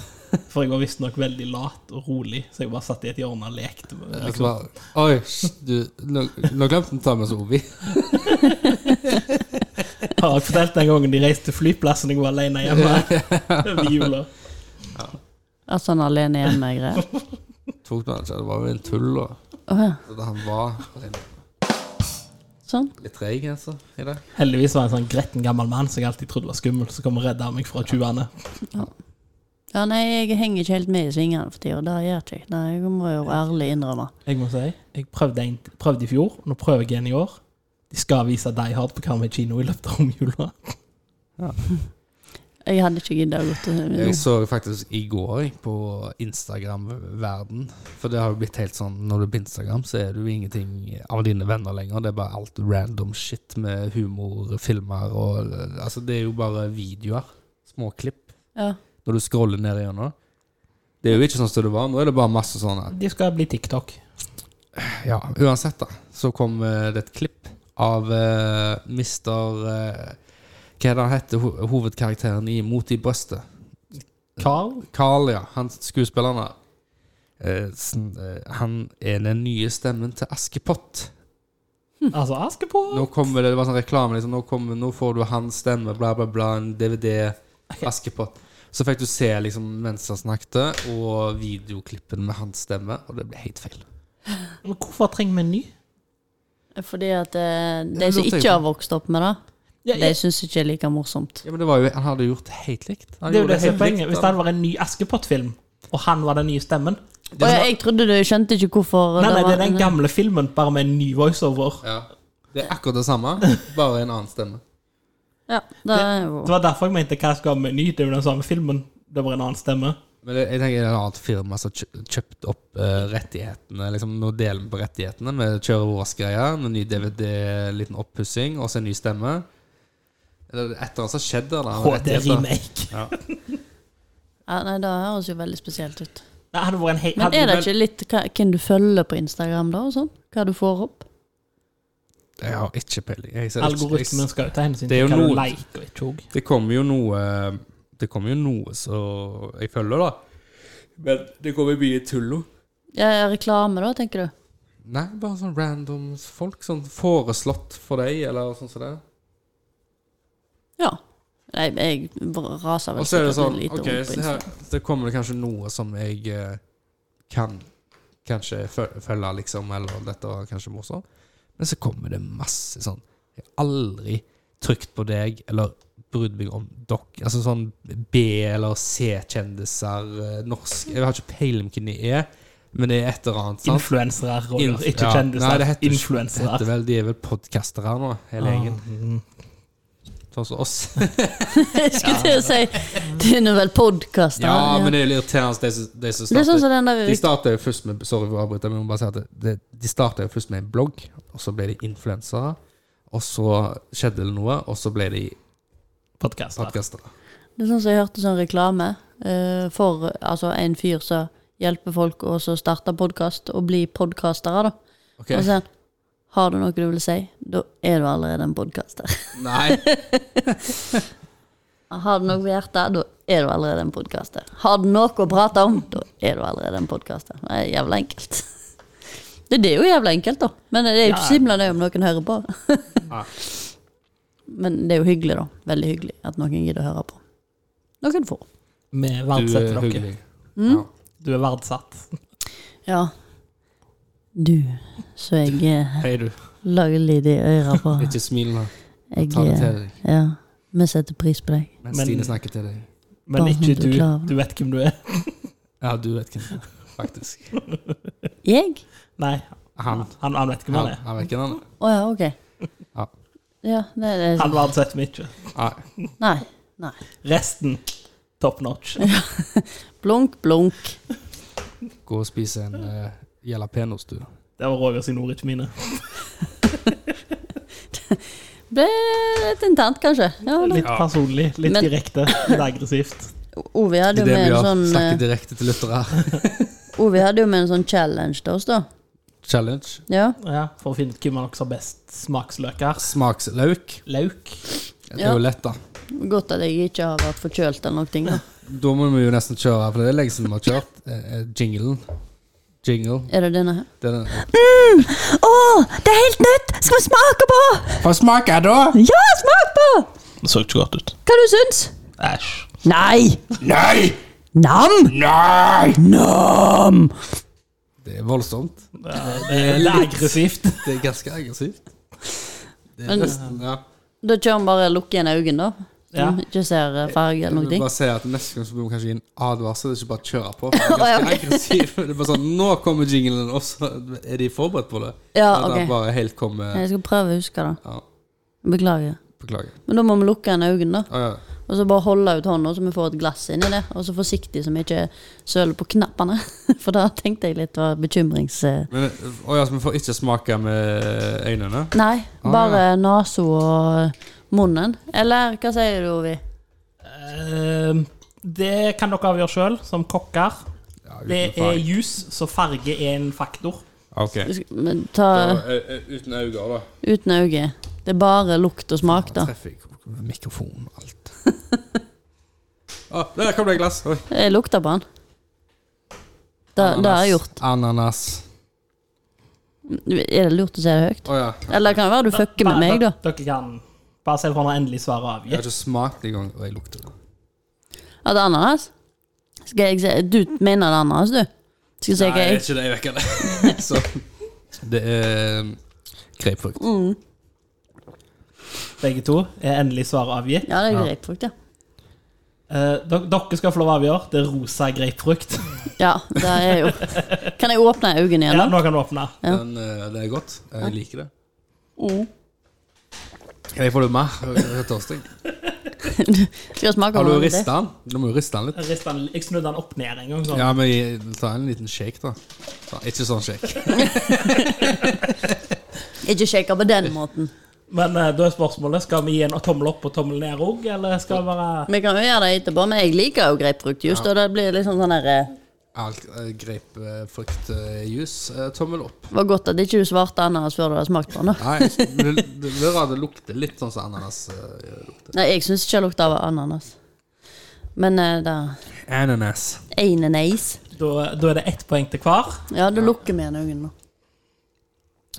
[SPEAKER 3] For jeg var visstnok veldig lat og rolig, så jeg bare satt i et hjørne og lekte. med-
[SPEAKER 2] Jeg skal
[SPEAKER 3] Liksom.
[SPEAKER 2] bare, Oi, sh, du, nå, nå glemte vi å ta med oss Ovi. [LAUGHS]
[SPEAKER 3] Har jeg fortalt den gangen de reiste til flyplassen jeg var alene hjemme? [LAUGHS] Over jula.
[SPEAKER 1] Altså han alene hjemme-greier.
[SPEAKER 2] Tok noe, det var jo en tull, da.
[SPEAKER 1] Å ja.
[SPEAKER 2] Så da Han var
[SPEAKER 1] Sånn.
[SPEAKER 2] litt treig, altså, i det.
[SPEAKER 3] Heldigvis var jeg en sånn gretten gammel mann som jeg alltid trodde var skummel, som kom og redda meg fra tjuvene.
[SPEAKER 1] Ja, nei, jeg henger ikke helt med i svingene for tida. Det gjør ikke jeg. Nei, jeg må jo ærlig innrømme.
[SPEAKER 3] Jeg må si, jeg prøvde, en, prøvde i fjor, nå prøver jeg igjen i år. De skal vise Die Hard på Karmøy kino i løpet av romjula.
[SPEAKER 1] Jeg hadde ikke giddet å gå til
[SPEAKER 2] Jeg så faktisk i går jeg, på Instagram-verden. For det har jo blitt helt sånn når du er på Instagram, så er du ingenting av dine venner lenger. Det er bare alt random shit med humor, filmer og Altså, det er jo bare videoer. Småklipp.
[SPEAKER 1] Ja.
[SPEAKER 2] Når du scroller ned igjennom. Det er jo ikke sånn som det var. Nå er det bare masse sånn at
[SPEAKER 3] De skal bli TikTok.
[SPEAKER 2] Ja, uansett, da. Så kom eh, det et klipp av uh, mister eh, Hva er det han heter, ho hovedkarakteren i Mot i brøstet?
[SPEAKER 3] Carl?
[SPEAKER 2] Carl, ja. Han skuespilleren der. Eh, sn- eh, han er den nye stemmen til Askepott.
[SPEAKER 1] Hm.
[SPEAKER 3] Altså Askepott?
[SPEAKER 2] Nå kommer det, det var sånn reklame. Liksom, nå, kommer, nå får du hans stemme, bla, bla, bla. En DVD. Askepott. Så fikk du se liksom, mens han snakket, og videoklippen med hans stemme, og det ble helt feil.
[SPEAKER 3] Men hvorfor trenger vi en ny?
[SPEAKER 1] Fordi at eh,
[SPEAKER 2] Ja,
[SPEAKER 1] de som
[SPEAKER 2] det låter
[SPEAKER 1] ikke har vokst opp med det,
[SPEAKER 3] Ja,
[SPEAKER 1] de
[SPEAKER 3] ja,
[SPEAKER 1] syns ikke det er like morsomt.
[SPEAKER 2] Ja, men det var jo, Han hadde gjort det helt likt. Han
[SPEAKER 3] det er jo
[SPEAKER 2] gjorde
[SPEAKER 3] det som er
[SPEAKER 2] helt
[SPEAKER 3] poenget.
[SPEAKER 2] likt,
[SPEAKER 3] Hvis det
[SPEAKER 2] han.
[SPEAKER 3] hadde vært en ny Askepott-film, og han var den nye stemmen
[SPEAKER 1] Og jeg, jeg trodde du jeg skjønte ikke hvorfor
[SPEAKER 3] Nei, nei, det
[SPEAKER 1] var-
[SPEAKER 3] er den gamle filmen, bare med en ny voiceover.
[SPEAKER 2] ja, det er akkurat det samme,
[SPEAKER 3] [LAUGHS]
[SPEAKER 2] bare en annen stemme.
[SPEAKER 1] Ja, det er jo
[SPEAKER 3] Det var derfor jeg mente hva skal med en ny? Det er jo den samme filmen. Det var en annen stemme.
[SPEAKER 2] Men det, jeg tenker det er et annet firma som kjø- kjøpte opp eh, rettighetene. Liksom, nå deler vi på rettighetene. Vi kjører vår greie, med ny DVD, liten oppussing, og så en ny stemme. Eller et eller annet som skjedde der. med
[SPEAKER 3] HD
[SPEAKER 2] rettigheter.
[SPEAKER 3] remake.
[SPEAKER 1] ja, Nei, det høres jo veldig spesielt ut.
[SPEAKER 3] Det hadde vært en hei,
[SPEAKER 1] Men
[SPEAKER 3] hadde
[SPEAKER 1] er det
[SPEAKER 3] vel-
[SPEAKER 1] ikke litt hva, hvem du følger på Instagram, da? og sånn? Hva du får opp?
[SPEAKER 2] Jeg har ikke peiling. Jeg ser ikke- jeg-
[SPEAKER 3] Algoritmen skal jo ta hensyn
[SPEAKER 2] Det er
[SPEAKER 3] til
[SPEAKER 2] jo
[SPEAKER 3] hva du
[SPEAKER 2] noe-
[SPEAKER 3] liker og ikke òg.
[SPEAKER 2] Det kommer jo noe Det kommer jo noe som jeg følger, da. Men det kommer mye tull òg.
[SPEAKER 1] Ja, reklame, da, tenker du?
[SPEAKER 2] Nei, bare sånn random folk. Sånn foreslått for deg, eller sånn som det.
[SPEAKER 1] Ja. Nei, jeg raser vel
[SPEAKER 2] Og så er det
[SPEAKER 1] sikkert
[SPEAKER 2] sånn
[SPEAKER 1] litt
[SPEAKER 2] OK,
[SPEAKER 1] rundt på
[SPEAKER 2] så her, det kommer det kanskje noe som jeg eh, kan kanskje føl- følge, liksom, eller dette var kanskje morsomt. Men så kommer det masse sånn Jeg har aldri trykt på deg eller brydd meg om dere. Altså sånn B- eller C-kjendiser, eh, norsk Jeg har ikke peiling på hvem de er, men det er et eller annet. sant?
[SPEAKER 3] Influensere, Roger.
[SPEAKER 2] Inf-
[SPEAKER 3] ikke
[SPEAKER 2] ja. Nei,
[SPEAKER 3] kjendiser.
[SPEAKER 2] det heter- Det
[SPEAKER 3] Influensere.
[SPEAKER 2] heter vel, de er vel podkastere nå, hele gjengen.
[SPEAKER 3] Mm.
[SPEAKER 2] Sånn som oss.
[SPEAKER 1] [LAUGHS] Jeg skulle til å si Det er nå vel podkast,
[SPEAKER 2] Ja, men det er jo irriterende, de som- de som
[SPEAKER 1] det er sånn
[SPEAKER 2] starter
[SPEAKER 1] som den der
[SPEAKER 2] De starta jo først med Sorry for å avbryte, men jeg må bare si at det- det, de startet jo først med en blogg, og så ble de influensere, og så skjedde det noe, og så ble de
[SPEAKER 3] Podkaster.
[SPEAKER 2] podkastere.
[SPEAKER 1] Det er sånn som jeg hørte sånn reklame eh, for altså, en fyr som hjelper folk å så starte podkast og bli podkastere, da.
[SPEAKER 2] Ok,
[SPEAKER 1] Og så sier han, har du noe du vil si, da er du allerede en podkaster.
[SPEAKER 3] [LAUGHS]
[SPEAKER 2] Nei,
[SPEAKER 1] [LAUGHS] Har du noe på hjertet, da er du allerede en podkaster. Har du noe å prate om, da er du allerede en podkaster. Det er jævla enkelt. [LAUGHS] Det, det er jo jævla enkelt, da. Men det er jo ikke
[SPEAKER 3] Ja.
[SPEAKER 1] simla det om noen hører på.
[SPEAKER 2] Nei.
[SPEAKER 1] [LAUGHS] Men det er jo hyggelig, da. Veldig hyggelig at noen gidder å høre på. Noen få.
[SPEAKER 3] Vi
[SPEAKER 2] du
[SPEAKER 3] verdsetter
[SPEAKER 2] er
[SPEAKER 3] dere.
[SPEAKER 2] hyggelig.
[SPEAKER 1] Mm?
[SPEAKER 2] Ja.
[SPEAKER 3] Du er verdsatt.
[SPEAKER 1] Ja. Du, så jeg eh,
[SPEAKER 2] Hei, du.
[SPEAKER 1] lager lyd i øra på.
[SPEAKER 2] [LAUGHS] Ikke smil nå.
[SPEAKER 1] Jeg,
[SPEAKER 2] Ta det
[SPEAKER 1] eh,
[SPEAKER 2] til deg
[SPEAKER 1] ja, vi setter pris på deg.
[SPEAKER 2] mens
[SPEAKER 3] Men-
[SPEAKER 2] Stine snakker til deg.
[SPEAKER 3] Men
[SPEAKER 1] Bare
[SPEAKER 3] ikke
[SPEAKER 1] du
[SPEAKER 3] du.
[SPEAKER 1] klarer.
[SPEAKER 3] Du vet hvem du er. [LAUGHS]
[SPEAKER 2] Ja, du vet hvem det er, faktisk.
[SPEAKER 1] Jeg?
[SPEAKER 3] Nei,
[SPEAKER 2] Han.
[SPEAKER 3] han, han vet hvem
[SPEAKER 2] Han,
[SPEAKER 3] han er.
[SPEAKER 2] han vet ikke han.
[SPEAKER 1] Å ja, ok.
[SPEAKER 2] Ja.
[SPEAKER 1] Ja, det, det,
[SPEAKER 3] Han verdsetter vi ikke.
[SPEAKER 2] Nei.
[SPEAKER 1] nei.
[SPEAKER 3] Resten top
[SPEAKER 1] [LAUGHS]
[SPEAKER 3] notch.
[SPEAKER 1] Blunk, blunk.
[SPEAKER 2] Gå og spise en uh, jalapeños, du.
[SPEAKER 3] Det var Roger sine ord, ikke mine.
[SPEAKER 1] Ble litt internt, kanskje. Ja, da.
[SPEAKER 3] Litt personlig, litt
[SPEAKER 1] Men-
[SPEAKER 3] direkte, litt aggressivt.
[SPEAKER 1] Ove
[SPEAKER 2] Det
[SPEAKER 1] hadde
[SPEAKER 2] er
[SPEAKER 1] jo
[SPEAKER 2] det
[SPEAKER 1] med
[SPEAKER 2] vi
[SPEAKER 1] en
[SPEAKER 2] har.
[SPEAKER 1] sånn
[SPEAKER 2] Snakke
[SPEAKER 1] eh,
[SPEAKER 2] direkte til lyttere.
[SPEAKER 1] Ove hadde jo med en sånn challenge til oss, da.
[SPEAKER 2] Challenge.
[SPEAKER 1] Ja.
[SPEAKER 3] Ja, for å finne ut hvem av dere som har best smaksløker.
[SPEAKER 2] Smaksløk.
[SPEAKER 3] Lauk.
[SPEAKER 2] Det er
[SPEAKER 1] Ja.
[SPEAKER 2] jo lett, da.
[SPEAKER 1] Godt at jeg ikke har vært forkjølt eller noe. ting, Da.
[SPEAKER 2] Da må vi jo nesten kjøre, for det er lenge siden vi har kjørt. Eh, eh, Jinglen. Jingle.
[SPEAKER 1] Er det denne her?
[SPEAKER 2] Det er den.
[SPEAKER 1] Å, det er helt nytt! Skal vi smake på?
[SPEAKER 2] Hva smaker det da?
[SPEAKER 1] Ja, smak på!
[SPEAKER 3] Det så ikke godt ut.
[SPEAKER 1] Hva du syns?
[SPEAKER 3] Æsj.
[SPEAKER 1] Nei!
[SPEAKER 2] Nei!
[SPEAKER 1] Nam?
[SPEAKER 2] Nei!
[SPEAKER 1] Nam!
[SPEAKER 2] Det er voldsomt.
[SPEAKER 3] Det er Eh, det er aggressivt.
[SPEAKER 2] Det er ganske aggressivt. Det er
[SPEAKER 1] Men-
[SPEAKER 2] nesten, ja.
[SPEAKER 1] Da kjører vi bare lukke igjen øynene, da. Så
[SPEAKER 3] Ja.
[SPEAKER 1] vi ikke ser eh, farge
[SPEAKER 2] Jeg
[SPEAKER 1] eller
[SPEAKER 2] vil
[SPEAKER 1] noe.
[SPEAKER 2] bare si at Neste gang så bør vi kanskje gi en advarsel, ikke bare kjøre på. for Det
[SPEAKER 1] Å,
[SPEAKER 2] er
[SPEAKER 1] [LAUGHS] ja,
[SPEAKER 2] ganske
[SPEAKER 1] ok.
[SPEAKER 2] aggressivt. Det er bare sånn, Nå kommer jinglen, og så er de forberedt på det.
[SPEAKER 1] Ja,
[SPEAKER 2] At han
[SPEAKER 1] ok.
[SPEAKER 2] bare helt kommer
[SPEAKER 1] Jeg skal prøve å huske det.
[SPEAKER 2] ja,
[SPEAKER 1] Beklager.
[SPEAKER 2] Beklager.
[SPEAKER 1] Men da må vi lukke igjen øynene, da.
[SPEAKER 2] Å, ja.
[SPEAKER 1] Og så bare holde ut hånda, så vi får et glass inni det. Og så forsiktig, så vi ikke søler på knappene. [LAUGHS] For da tenkte jeg litt var bekymrings... eh,
[SPEAKER 2] Men, å, ja, så vi får ikke smake med øynene?
[SPEAKER 1] Nei,
[SPEAKER 2] Ah,
[SPEAKER 1] bare nesa og munnen. Eller hva sier du, Ovi?
[SPEAKER 3] Ehm, Det kan dere avgjøre sjøl, som kokker.
[SPEAKER 2] Ja,
[SPEAKER 3] Det
[SPEAKER 2] uten
[SPEAKER 3] er
[SPEAKER 2] farge.
[SPEAKER 3] juice, så farge er en faktor.
[SPEAKER 2] Ok.
[SPEAKER 1] Du skal- men Ta
[SPEAKER 2] Da, eh, eh, uten øyne, da.
[SPEAKER 1] uten øye. Det er bare lukt og smak, da.
[SPEAKER 2] Treffer jeg mikrofonen og alt. [LAUGHS] Å, der kom det et glass. Oi.
[SPEAKER 1] Jeg lukter på den. Det det har jeg gjort.
[SPEAKER 2] Ananas.
[SPEAKER 1] Er det lurt å si det høyt?
[SPEAKER 2] Å ja.
[SPEAKER 1] Eller kan det være du fucker med meg, da?
[SPEAKER 3] Dere kan bare se for når endelig svaret er
[SPEAKER 2] Jeg har
[SPEAKER 3] avgitt.
[SPEAKER 2] ikke smakt det engang, og jeg lukter det.
[SPEAKER 1] At det er ananas? Skal jeg se Du mener det er ananas, du? Skal jeg se hva
[SPEAKER 2] det er
[SPEAKER 1] jeg
[SPEAKER 2] ikke det jeg vekker
[SPEAKER 1] [LAUGHS]
[SPEAKER 2] det. [LAUGHS] Så det er um, grapefrukt.
[SPEAKER 3] Begge to er endelig svaret avgitt.
[SPEAKER 1] Ja, det er
[SPEAKER 2] Ja.
[SPEAKER 1] grapefrukt, ja.
[SPEAKER 3] Eh, dere- dere skal få lov å avgjøre. Det er rosa grapefrukt.
[SPEAKER 1] Ja, det er jo Kan jeg åpne øynene
[SPEAKER 3] Ja,
[SPEAKER 1] igjen, da?
[SPEAKER 3] nå kan du åpne.
[SPEAKER 1] Ja.
[SPEAKER 2] Den, eh, det er godt. Jeg liker det.
[SPEAKER 1] Mm.
[SPEAKER 2] Kan jeg få litt mer? Jeg er tørstig.
[SPEAKER 1] Skal jeg smake
[SPEAKER 2] Har
[SPEAKER 1] på
[SPEAKER 2] du
[SPEAKER 1] den?
[SPEAKER 2] rista den? Du må jo riste den litt.
[SPEAKER 3] Jeg rister den- Jeg snudde den opp ned en gang. Sånn.
[SPEAKER 2] Ja, men jeg- ta en liten shake, da. Ta, ikke sånn shake.
[SPEAKER 1] Ikke shake på den måten.
[SPEAKER 3] Men eh, da er spørsmålet skal vi gi en tommel opp og tommel ned òg, eller skal det være
[SPEAKER 1] Vi kan jo gjøre det etterpå, men jeg liker jo grapefruktjuice. Og det blir liksom sånn der eh,
[SPEAKER 2] Alt, eh, Grapefruktjuice. Eh, Tommel opp.
[SPEAKER 1] Det var godt at ikke du svarte ananas før du hadde smakt på den. da.
[SPEAKER 2] Nei, men det, det, det, er rart, det lukter litt sånn som ananas. eh, lukter.
[SPEAKER 1] Nei, jeg syns ikke det lukter av ananas. Men eh, det
[SPEAKER 2] Ananas.
[SPEAKER 1] Ananas.
[SPEAKER 3] da, da er det ett poeng til hver.
[SPEAKER 1] Ja, da lukker vi igjen øynene nå.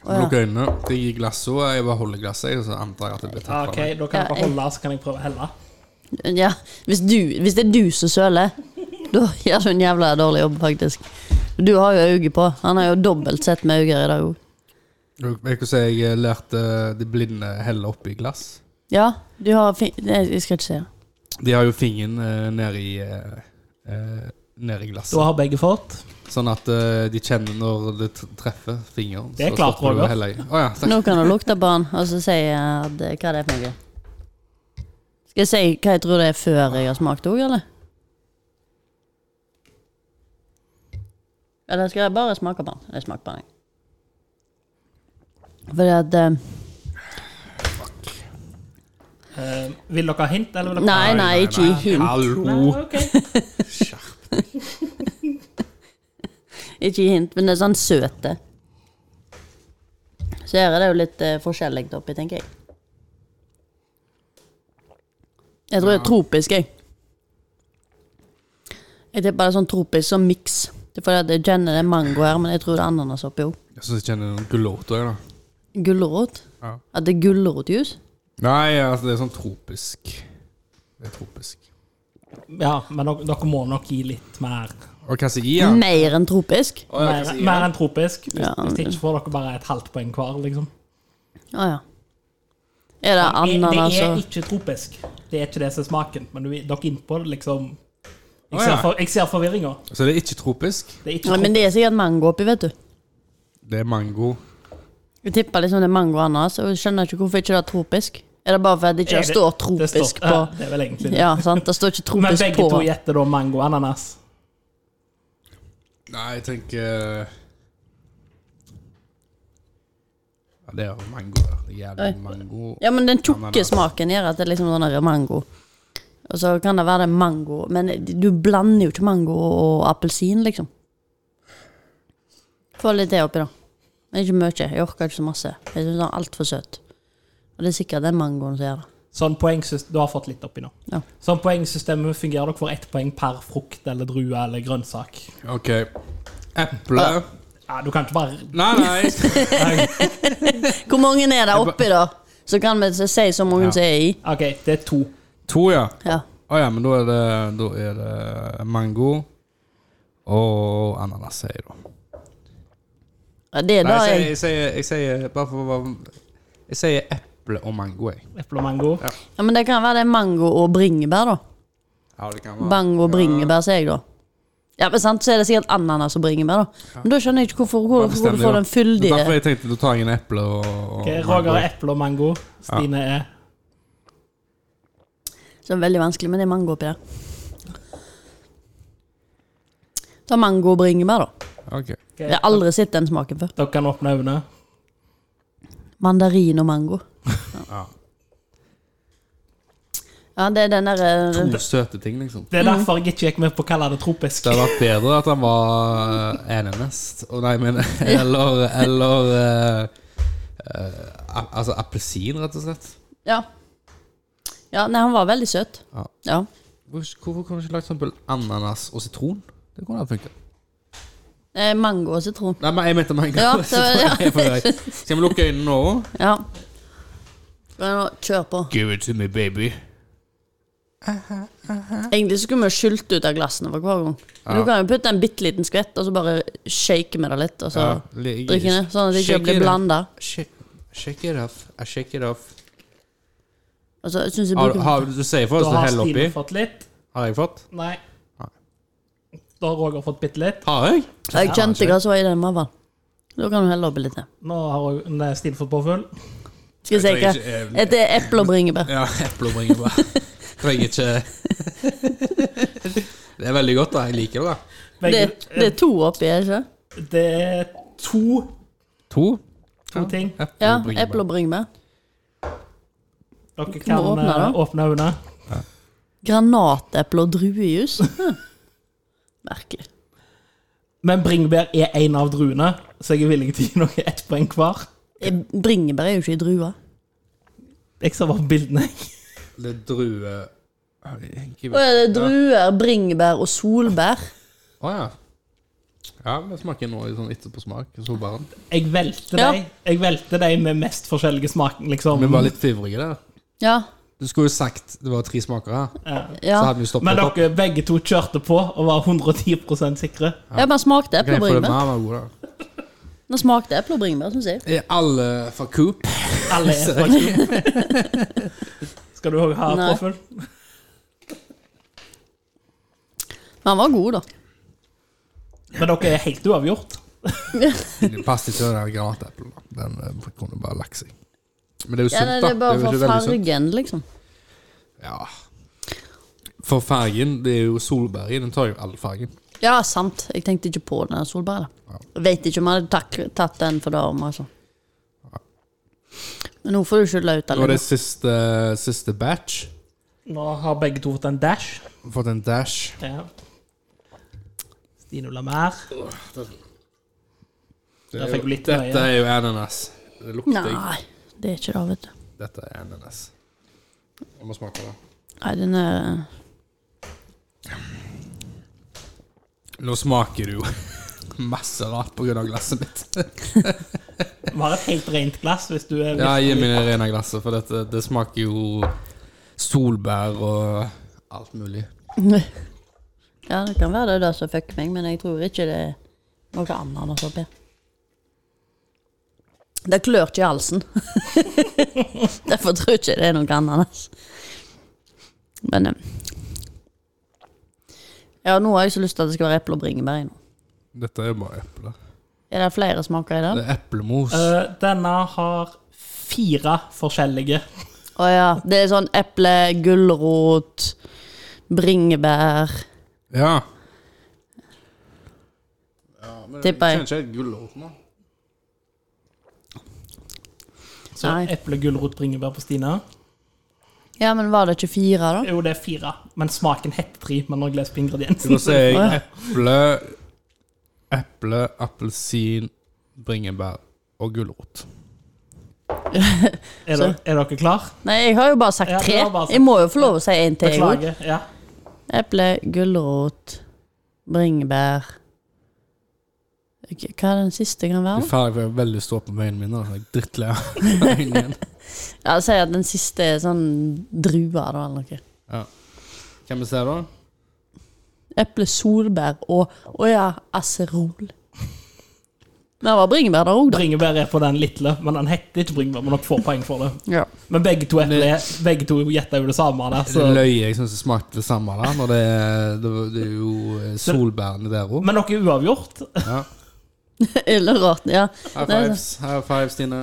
[SPEAKER 1] Å, ja.
[SPEAKER 2] Lukk øynene. Det gir glasset, og jeg bare holder glasset, jeg, og så antar jeg at det blir
[SPEAKER 3] Ja,
[SPEAKER 2] tatt
[SPEAKER 3] ok,
[SPEAKER 2] fra meg.
[SPEAKER 3] Da kan
[SPEAKER 1] Ja,
[SPEAKER 3] dere
[SPEAKER 1] jeg-
[SPEAKER 3] holde, så kan jeg prøve å helle.
[SPEAKER 1] Ja, hvis, du, hvis det er du som søler, da gjør du en jævla dårlig jobb, faktisk. Du har jo øye på. Han har jo dobbelt sett med øyne i dag òg.
[SPEAKER 2] Jeg kan si jeg lærte de blinde helle oppi glass.
[SPEAKER 1] Ja, du har fin... Nei, jeg skal ikke si det.
[SPEAKER 2] De har jo fingeren eh, nede i, eh, eh, nede i
[SPEAKER 3] Da
[SPEAKER 2] glasset.
[SPEAKER 3] har begge fått.
[SPEAKER 2] Sånn at eh, de kjenner når det tr- treffer fingeren.
[SPEAKER 3] Det er klart,
[SPEAKER 2] stopper du å
[SPEAKER 3] Roger.
[SPEAKER 2] helle i. Å ja, takk.
[SPEAKER 1] Nå kan du lukte på han, og så si eh, at det- hva det er for noe. Skal jeg si hva jeg tror det er før jeg har smakt òg, eller? Eller skal jeg bare smake på den? Jeg smaker på den, jeg. Fordi at eh,
[SPEAKER 3] Eh, vil dere ha hint, eller vil dere
[SPEAKER 1] Nei, nei, ikke gi hint.
[SPEAKER 2] Hallo!
[SPEAKER 3] Nei, ok.
[SPEAKER 1] Ikke gi hint, men det er sånn søte. Så her er det jo litt eh, forskjellig oppi, tenker jeg. Jeg tror det er tropisk, jeg. Jeg tipper det er sånn tropisk som miks. Det er fordi at jeg kjenner det er mango her, men jeg tror det er ananas oppi òg.
[SPEAKER 2] Jeg syns jeg kjenner noen gulrot òg, da.
[SPEAKER 1] Gulrot?
[SPEAKER 2] Ja.
[SPEAKER 1] At det er gulrotjus?
[SPEAKER 2] Nei, altså, det er sånn tropisk. Det er tropisk.
[SPEAKER 3] Ja, men dere, dere må nok gi litt mer.
[SPEAKER 2] Og hva sier jeg?
[SPEAKER 1] Mer enn tropisk?
[SPEAKER 2] Å, ja, hva
[SPEAKER 3] mer,
[SPEAKER 2] sier jeg?
[SPEAKER 3] mer enn tropisk. Hvis,
[SPEAKER 1] Ja.
[SPEAKER 3] hvis ikke får dere bare et halvt poeng hver, liksom.
[SPEAKER 1] Å ja. Er det
[SPEAKER 3] Det,
[SPEAKER 1] ananas
[SPEAKER 3] det er
[SPEAKER 1] og
[SPEAKER 3] ikke tropisk. Det er ikke det som er smaken, men du, dere er inne på det, liksom.
[SPEAKER 2] Å,
[SPEAKER 3] Jeg ser,
[SPEAKER 2] ja.
[SPEAKER 3] for, jeg ser forvirringa.
[SPEAKER 2] Så det er ikke tropisk.
[SPEAKER 3] Det er ikke
[SPEAKER 1] Nei, Men
[SPEAKER 3] tropisk.
[SPEAKER 1] det er sikkert mango oppi, vet du.
[SPEAKER 2] Det er mango.
[SPEAKER 1] Jeg tipper liksom det er mango og ananas, og jeg skjønner ikke hvorfor ikke det er tropisk. Er det bare fordi det ikke
[SPEAKER 3] Er det-
[SPEAKER 1] står
[SPEAKER 3] det
[SPEAKER 1] tropisk
[SPEAKER 3] står-
[SPEAKER 1] på
[SPEAKER 3] Ja, Det er vel egentlig det.
[SPEAKER 1] Ja, sant? Det står ikke
[SPEAKER 3] [LAUGHS] Men
[SPEAKER 1] tropisk
[SPEAKER 3] begge to
[SPEAKER 1] på.
[SPEAKER 3] gjetter da mango og ananas.
[SPEAKER 2] Nei, jeg tenker Ja, det er mango. da. Det er jævlig mango.
[SPEAKER 1] Ja, men den tjukke
[SPEAKER 2] Ananas.
[SPEAKER 1] smaken gjør at det er liksom sånn der mango. Og så kan det være det er mango, men du blander jo ikke mango og appelsin, liksom. Få litt det oppi, da. Men ikke mye. Jeg orker ikke så masse. Jeg synes den er altfor søt. Og det er sikkert den mangoen som gjør det.
[SPEAKER 3] Sånn poengsystem, du har fått litt oppi nå.
[SPEAKER 1] Ja.
[SPEAKER 3] Sånn poengsystemet fungerer dere får ett poeng per frukt eller drue eller grønnsak.
[SPEAKER 2] OK. Eple
[SPEAKER 3] Ja, du kan ikke bare
[SPEAKER 2] Nei, nei.
[SPEAKER 1] [LAUGHS] Hvor mange er det oppi, da? Så kan vi si så mange
[SPEAKER 2] Ja.
[SPEAKER 1] som er i.
[SPEAKER 3] OK, det er to.
[SPEAKER 2] To, ja.
[SPEAKER 1] Ja.
[SPEAKER 2] Å ja, men da er det, da er det mango og ananas, sier jeg da.
[SPEAKER 1] Ja, det er
[SPEAKER 2] Nei,
[SPEAKER 1] da
[SPEAKER 2] jeg,
[SPEAKER 1] jeg
[SPEAKER 2] sier- jeg, sier- jeg sier bare for å være Jeg sier eple og mango, jeg.
[SPEAKER 3] Eple og mango.
[SPEAKER 1] Ja, men det kan være det er mango og bringebær, da.
[SPEAKER 2] Ja, det kan
[SPEAKER 1] Mango og bringebær, sier jeg da. Ja, men sant, så er det sikkert ananas og bringebær, da. Men da skjønner jeg ikke hvorfor, hvor,
[SPEAKER 2] Bare
[SPEAKER 1] hvor du
[SPEAKER 2] bestem det,
[SPEAKER 1] får
[SPEAKER 2] da.
[SPEAKER 1] den
[SPEAKER 2] Det er Derfor
[SPEAKER 1] fyldige
[SPEAKER 2] jeg tenkte da tar jeg en eple og, og
[SPEAKER 3] Ok,
[SPEAKER 2] mango.
[SPEAKER 3] Roger er eple og mango. Stine er
[SPEAKER 1] Så det er veldig vanskelig, men det er mango oppi der. Ta mango og bringebær, da.
[SPEAKER 2] Ok.
[SPEAKER 3] Ok,
[SPEAKER 1] Jeg har aldri sett den smaken før.
[SPEAKER 3] Dere kan åpne øynene.
[SPEAKER 1] Mandarin og mango.
[SPEAKER 2] [LAUGHS] Ja.
[SPEAKER 1] Ja, det er den eh, derre
[SPEAKER 2] To søte ting, liksom.
[SPEAKER 3] Det er
[SPEAKER 1] Mhm.
[SPEAKER 3] derfor jeg ikke gikk med på å kalle det tropisk.
[SPEAKER 2] Det hadde vært bedre at han var eh, enenest. Å nei, men [LAUGHS] Eller, eller eh, eh, a- Altså appelsin, rett og slett.
[SPEAKER 1] Ja. Ja, nei, han var veldig søt.
[SPEAKER 2] Ja.
[SPEAKER 1] Ja.
[SPEAKER 2] Hvor- Hvorfor kunne du ikke lagt sånn på ananas og sitron? Det kunne ha funket.
[SPEAKER 1] Eh, Mango og sitron.
[SPEAKER 2] Nei, men jeg mente mango.
[SPEAKER 1] Ja, det
[SPEAKER 2] [LAUGHS]
[SPEAKER 1] var- ja.
[SPEAKER 2] Skal vi lukke øynene nå?
[SPEAKER 1] Ja. Men nå, Kjør på.
[SPEAKER 2] Give it to me, baby.
[SPEAKER 1] Egentlig så skulle vi skylt ut av glassene for hver gang. Men Du
[SPEAKER 2] Ja.
[SPEAKER 1] kan jo putte en bitte liten skvett, og så bare shake med det litt, og så
[SPEAKER 2] Ja, ligger-
[SPEAKER 1] drikke det. Sånn at det ikke
[SPEAKER 2] Shake
[SPEAKER 1] blir
[SPEAKER 2] it up.
[SPEAKER 1] blanda.
[SPEAKER 2] Shake, shake it off. I shake it off.
[SPEAKER 1] Og så synes jeg
[SPEAKER 2] Har,
[SPEAKER 1] bruker
[SPEAKER 2] har, du sier for
[SPEAKER 3] Da
[SPEAKER 2] oss å
[SPEAKER 3] har
[SPEAKER 2] helle oppi.
[SPEAKER 3] Stine fått litt.
[SPEAKER 2] Har jeg fått?
[SPEAKER 3] Nei.
[SPEAKER 2] Nei.
[SPEAKER 3] Da har Roger fått bitte litt.
[SPEAKER 2] Har jeg?
[SPEAKER 1] Jeg kjente hva som var i den maven. Da kan du helle oppi litt. til.
[SPEAKER 3] Nå har Roger- nei, Stine fått påfyll.
[SPEAKER 1] Skal jeg
[SPEAKER 2] Jeg trenger
[SPEAKER 1] si hva?
[SPEAKER 2] ikke- eh,
[SPEAKER 1] Et eple og bringebær.
[SPEAKER 2] Ja, eple og bringebær. Trenger ikke Det er veldig godt, da. Jeg liker det. da
[SPEAKER 1] Det,
[SPEAKER 3] Begge-
[SPEAKER 1] det er to oppi, er det ikke?
[SPEAKER 3] det er to,
[SPEAKER 2] To
[SPEAKER 3] to ting.
[SPEAKER 2] eple
[SPEAKER 1] Ja.
[SPEAKER 2] og
[SPEAKER 1] Eple
[SPEAKER 2] bringebær.
[SPEAKER 1] og bringebær.
[SPEAKER 3] Dere kan
[SPEAKER 1] åpne,
[SPEAKER 3] eh,
[SPEAKER 1] da.
[SPEAKER 3] åpne øynene.
[SPEAKER 1] Granateple og druejus. Hm. Merkelig.
[SPEAKER 3] Men bringebær er en av druene, så jeg er villig til å gi dere ett poeng hver.
[SPEAKER 1] Eh, Bringebær er jo ikke i drua.
[SPEAKER 3] Jeg ser bare på bildene.
[SPEAKER 2] Det er drue...
[SPEAKER 1] Å ja, det er druer, bringebær og solbær.
[SPEAKER 2] Å ja. Ja, vi smaker nå litt sånn etterpå smak. Så bare.
[SPEAKER 3] Jeg velte
[SPEAKER 1] Ja.
[SPEAKER 3] deg Jeg velte deg med mest forskjellige smak, liksom.
[SPEAKER 2] Vi var litt fivrige der.
[SPEAKER 1] Ja.
[SPEAKER 2] Du skulle jo sagt det var tre smaker her.
[SPEAKER 3] Ja.
[SPEAKER 2] Så
[SPEAKER 1] Ja.
[SPEAKER 2] hadde vi jo stoppet
[SPEAKER 3] Men
[SPEAKER 2] opp.
[SPEAKER 3] dere begge to kjørte på og var 110 sikre.
[SPEAKER 1] Jeg bare smakte
[SPEAKER 2] Kan
[SPEAKER 1] eple
[SPEAKER 2] jeg
[SPEAKER 1] og
[SPEAKER 2] få det med?
[SPEAKER 1] bringebær.
[SPEAKER 2] Han var god, da.
[SPEAKER 1] Nå smakte eple og bringebær, syns jeg.
[SPEAKER 2] Er alle fra Coop?
[SPEAKER 3] Alle er faktisk Skal du òg ha
[SPEAKER 1] Nei.
[SPEAKER 3] påfyll?
[SPEAKER 1] Men han var [LAUGHS] god, da.
[SPEAKER 3] Men dere er helt uavgjort.
[SPEAKER 2] Det passet ikke den granateplen. da. Den eh, kunne bare lagt seg. Men det er jo
[SPEAKER 1] Ja,
[SPEAKER 2] sunt,
[SPEAKER 1] det,
[SPEAKER 2] da.
[SPEAKER 1] det er bare
[SPEAKER 2] jo
[SPEAKER 1] for
[SPEAKER 2] ikke veldig sunt.
[SPEAKER 1] fargen, liksom.
[SPEAKER 2] Ja. For fargen, det er jo solbærgen. Den tar jo all fargen.
[SPEAKER 1] Ja, sant. Jeg tenkte ikke på den solbæra. Vet ikke om jeg hadde tak tatt den for det om, altså. Men nå får du skylda ut
[SPEAKER 2] Og
[SPEAKER 1] av
[SPEAKER 2] det
[SPEAKER 1] det.
[SPEAKER 2] er siste, siste batch.
[SPEAKER 3] Nå har begge to fått en dash.
[SPEAKER 2] Fått en dash.
[SPEAKER 3] Ja. Stine vil ha mer.
[SPEAKER 2] Det
[SPEAKER 3] Der
[SPEAKER 2] er jo,
[SPEAKER 3] fikk du litt
[SPEAKER 2] dette
[SPEAKER 3] nøye.
[SPEAKER 2] er jo ananas. Det lukter jeg.
[SPEAKER 1] Nei, det er ikke det, vet du.
[SPEAKER 2] Dette er ananas. Jeg må smake det.
[SPEAKER 1] Nei, den er
[SPEAKER 2] Nå smaker du jo [LAUGHS] masse rart på grunn av glasset mitt.
[SPEAKER 3] Vi har et helt rent glass hvis du er
[SPEAKER 2] Ja, gi meg det rene glasset, for dette, det smaker jo solbær og alt mulig.
[SPEAKER 1] Ja, det kan være det er det som fucker meg, men jeg tror ikke det er noe ananas oppi. Det klør ikke i halsen. [LAUGHS] Derfor tror jeg ikke det er noe ananas. Men eh, Ja, nå har jeg så lyst til at det skal være eple og bringebær i nå.
[SPEAKER 2] Dette er jo bare eple.
[SPEAKER 1] Er det flere smaker i den?
[SPEAKER 2] Det er eplemos.
[SPEAKER 3] Eh, Denne har fire forskjellige.
[SPEAKER 1] Å ja. Det er sånn eple, gulrot, bringebær
[SPEAKER 2] Ja.
[SPEAKER 1] Tipper jeg.
[SPEAKER 2] ikke helt gulrot nå.
[SPEAKER 3] Så
[SPEAKER 1] Nei.
[SPEAKER 3] eple, gulrot, bringebær på Stina.
[SPEAKER 1] Ja, men var det ikke fire, da?
[SPEAKER 3] Jo, det er fire, men smaken heter tre. Men når jeg leser på
[SPEAKER 2] Da
[SPEAKER 3] ingrediensen
[SPEAKER 2] sier
[SPEAKER 1] Å, ja.
[SPEAKER 2] jeg eple, eple, appelsin, bringebær og gulrot.
[SPEAKER 3] Er, dere- er dere klar?
[SPEAKER 1] Nei, jeg har jo bare sagt
[SPEAKER 3] Ja, du
[SPEAKER 1] tre.
[SPEAKER 3] har bare sagt-
[SPEAKER 1] Jeg må jo få lov å si en til. jeg også.
[SPEAKER 3] Beklager. Ja.
[SPEAKER 1] Eple, gulrot, bringebær K- Hva er den siste kan
[SPEAKER 2] Jeg
[SPEAKER 1] være?
[SPEAKER 2] er ferdig for jeg er veldig stor på veien min. nå, så Jeg er drittlei av øynene
[SPEAKER 1] [LAUGHS]
[SPEAKER 2] igjen.
[SPEAKER 1] Ja, Si at den siste er sånn druer, da, eller noe.
[SPEAKER 2] Ja. Kan vi se, da?
[SPEAKER 1] Eple, solbær og Å ja, acerol. Men det var bringebær der òg, da.
[SPEAKER 3] Bringebær er på den lille, men den heter ikke bringebær. Men dere får poeng for det.
[SPEAKER 1] [LAUGHS] Ja.
[SPEAKER 3] Men begge to eple, begge to gjetter jo det samme. Der,
[SPEAKER 2] Det
[SPEAKER 3] så.
[SPEAKER 2] løy jeg syns det smakte det samme da, når det, er- det, det er jo eh, solbærene der òg.
[SPEAKER 3] Men dere er uavgjort.
[SPEAKER 2] Ja.
[SPEAKER 1] Eller rart. Ja.
[SPEAKER 2] High
[SPEAKER 1] Det er
[SPEAKER 2] fives, high fives, Stine.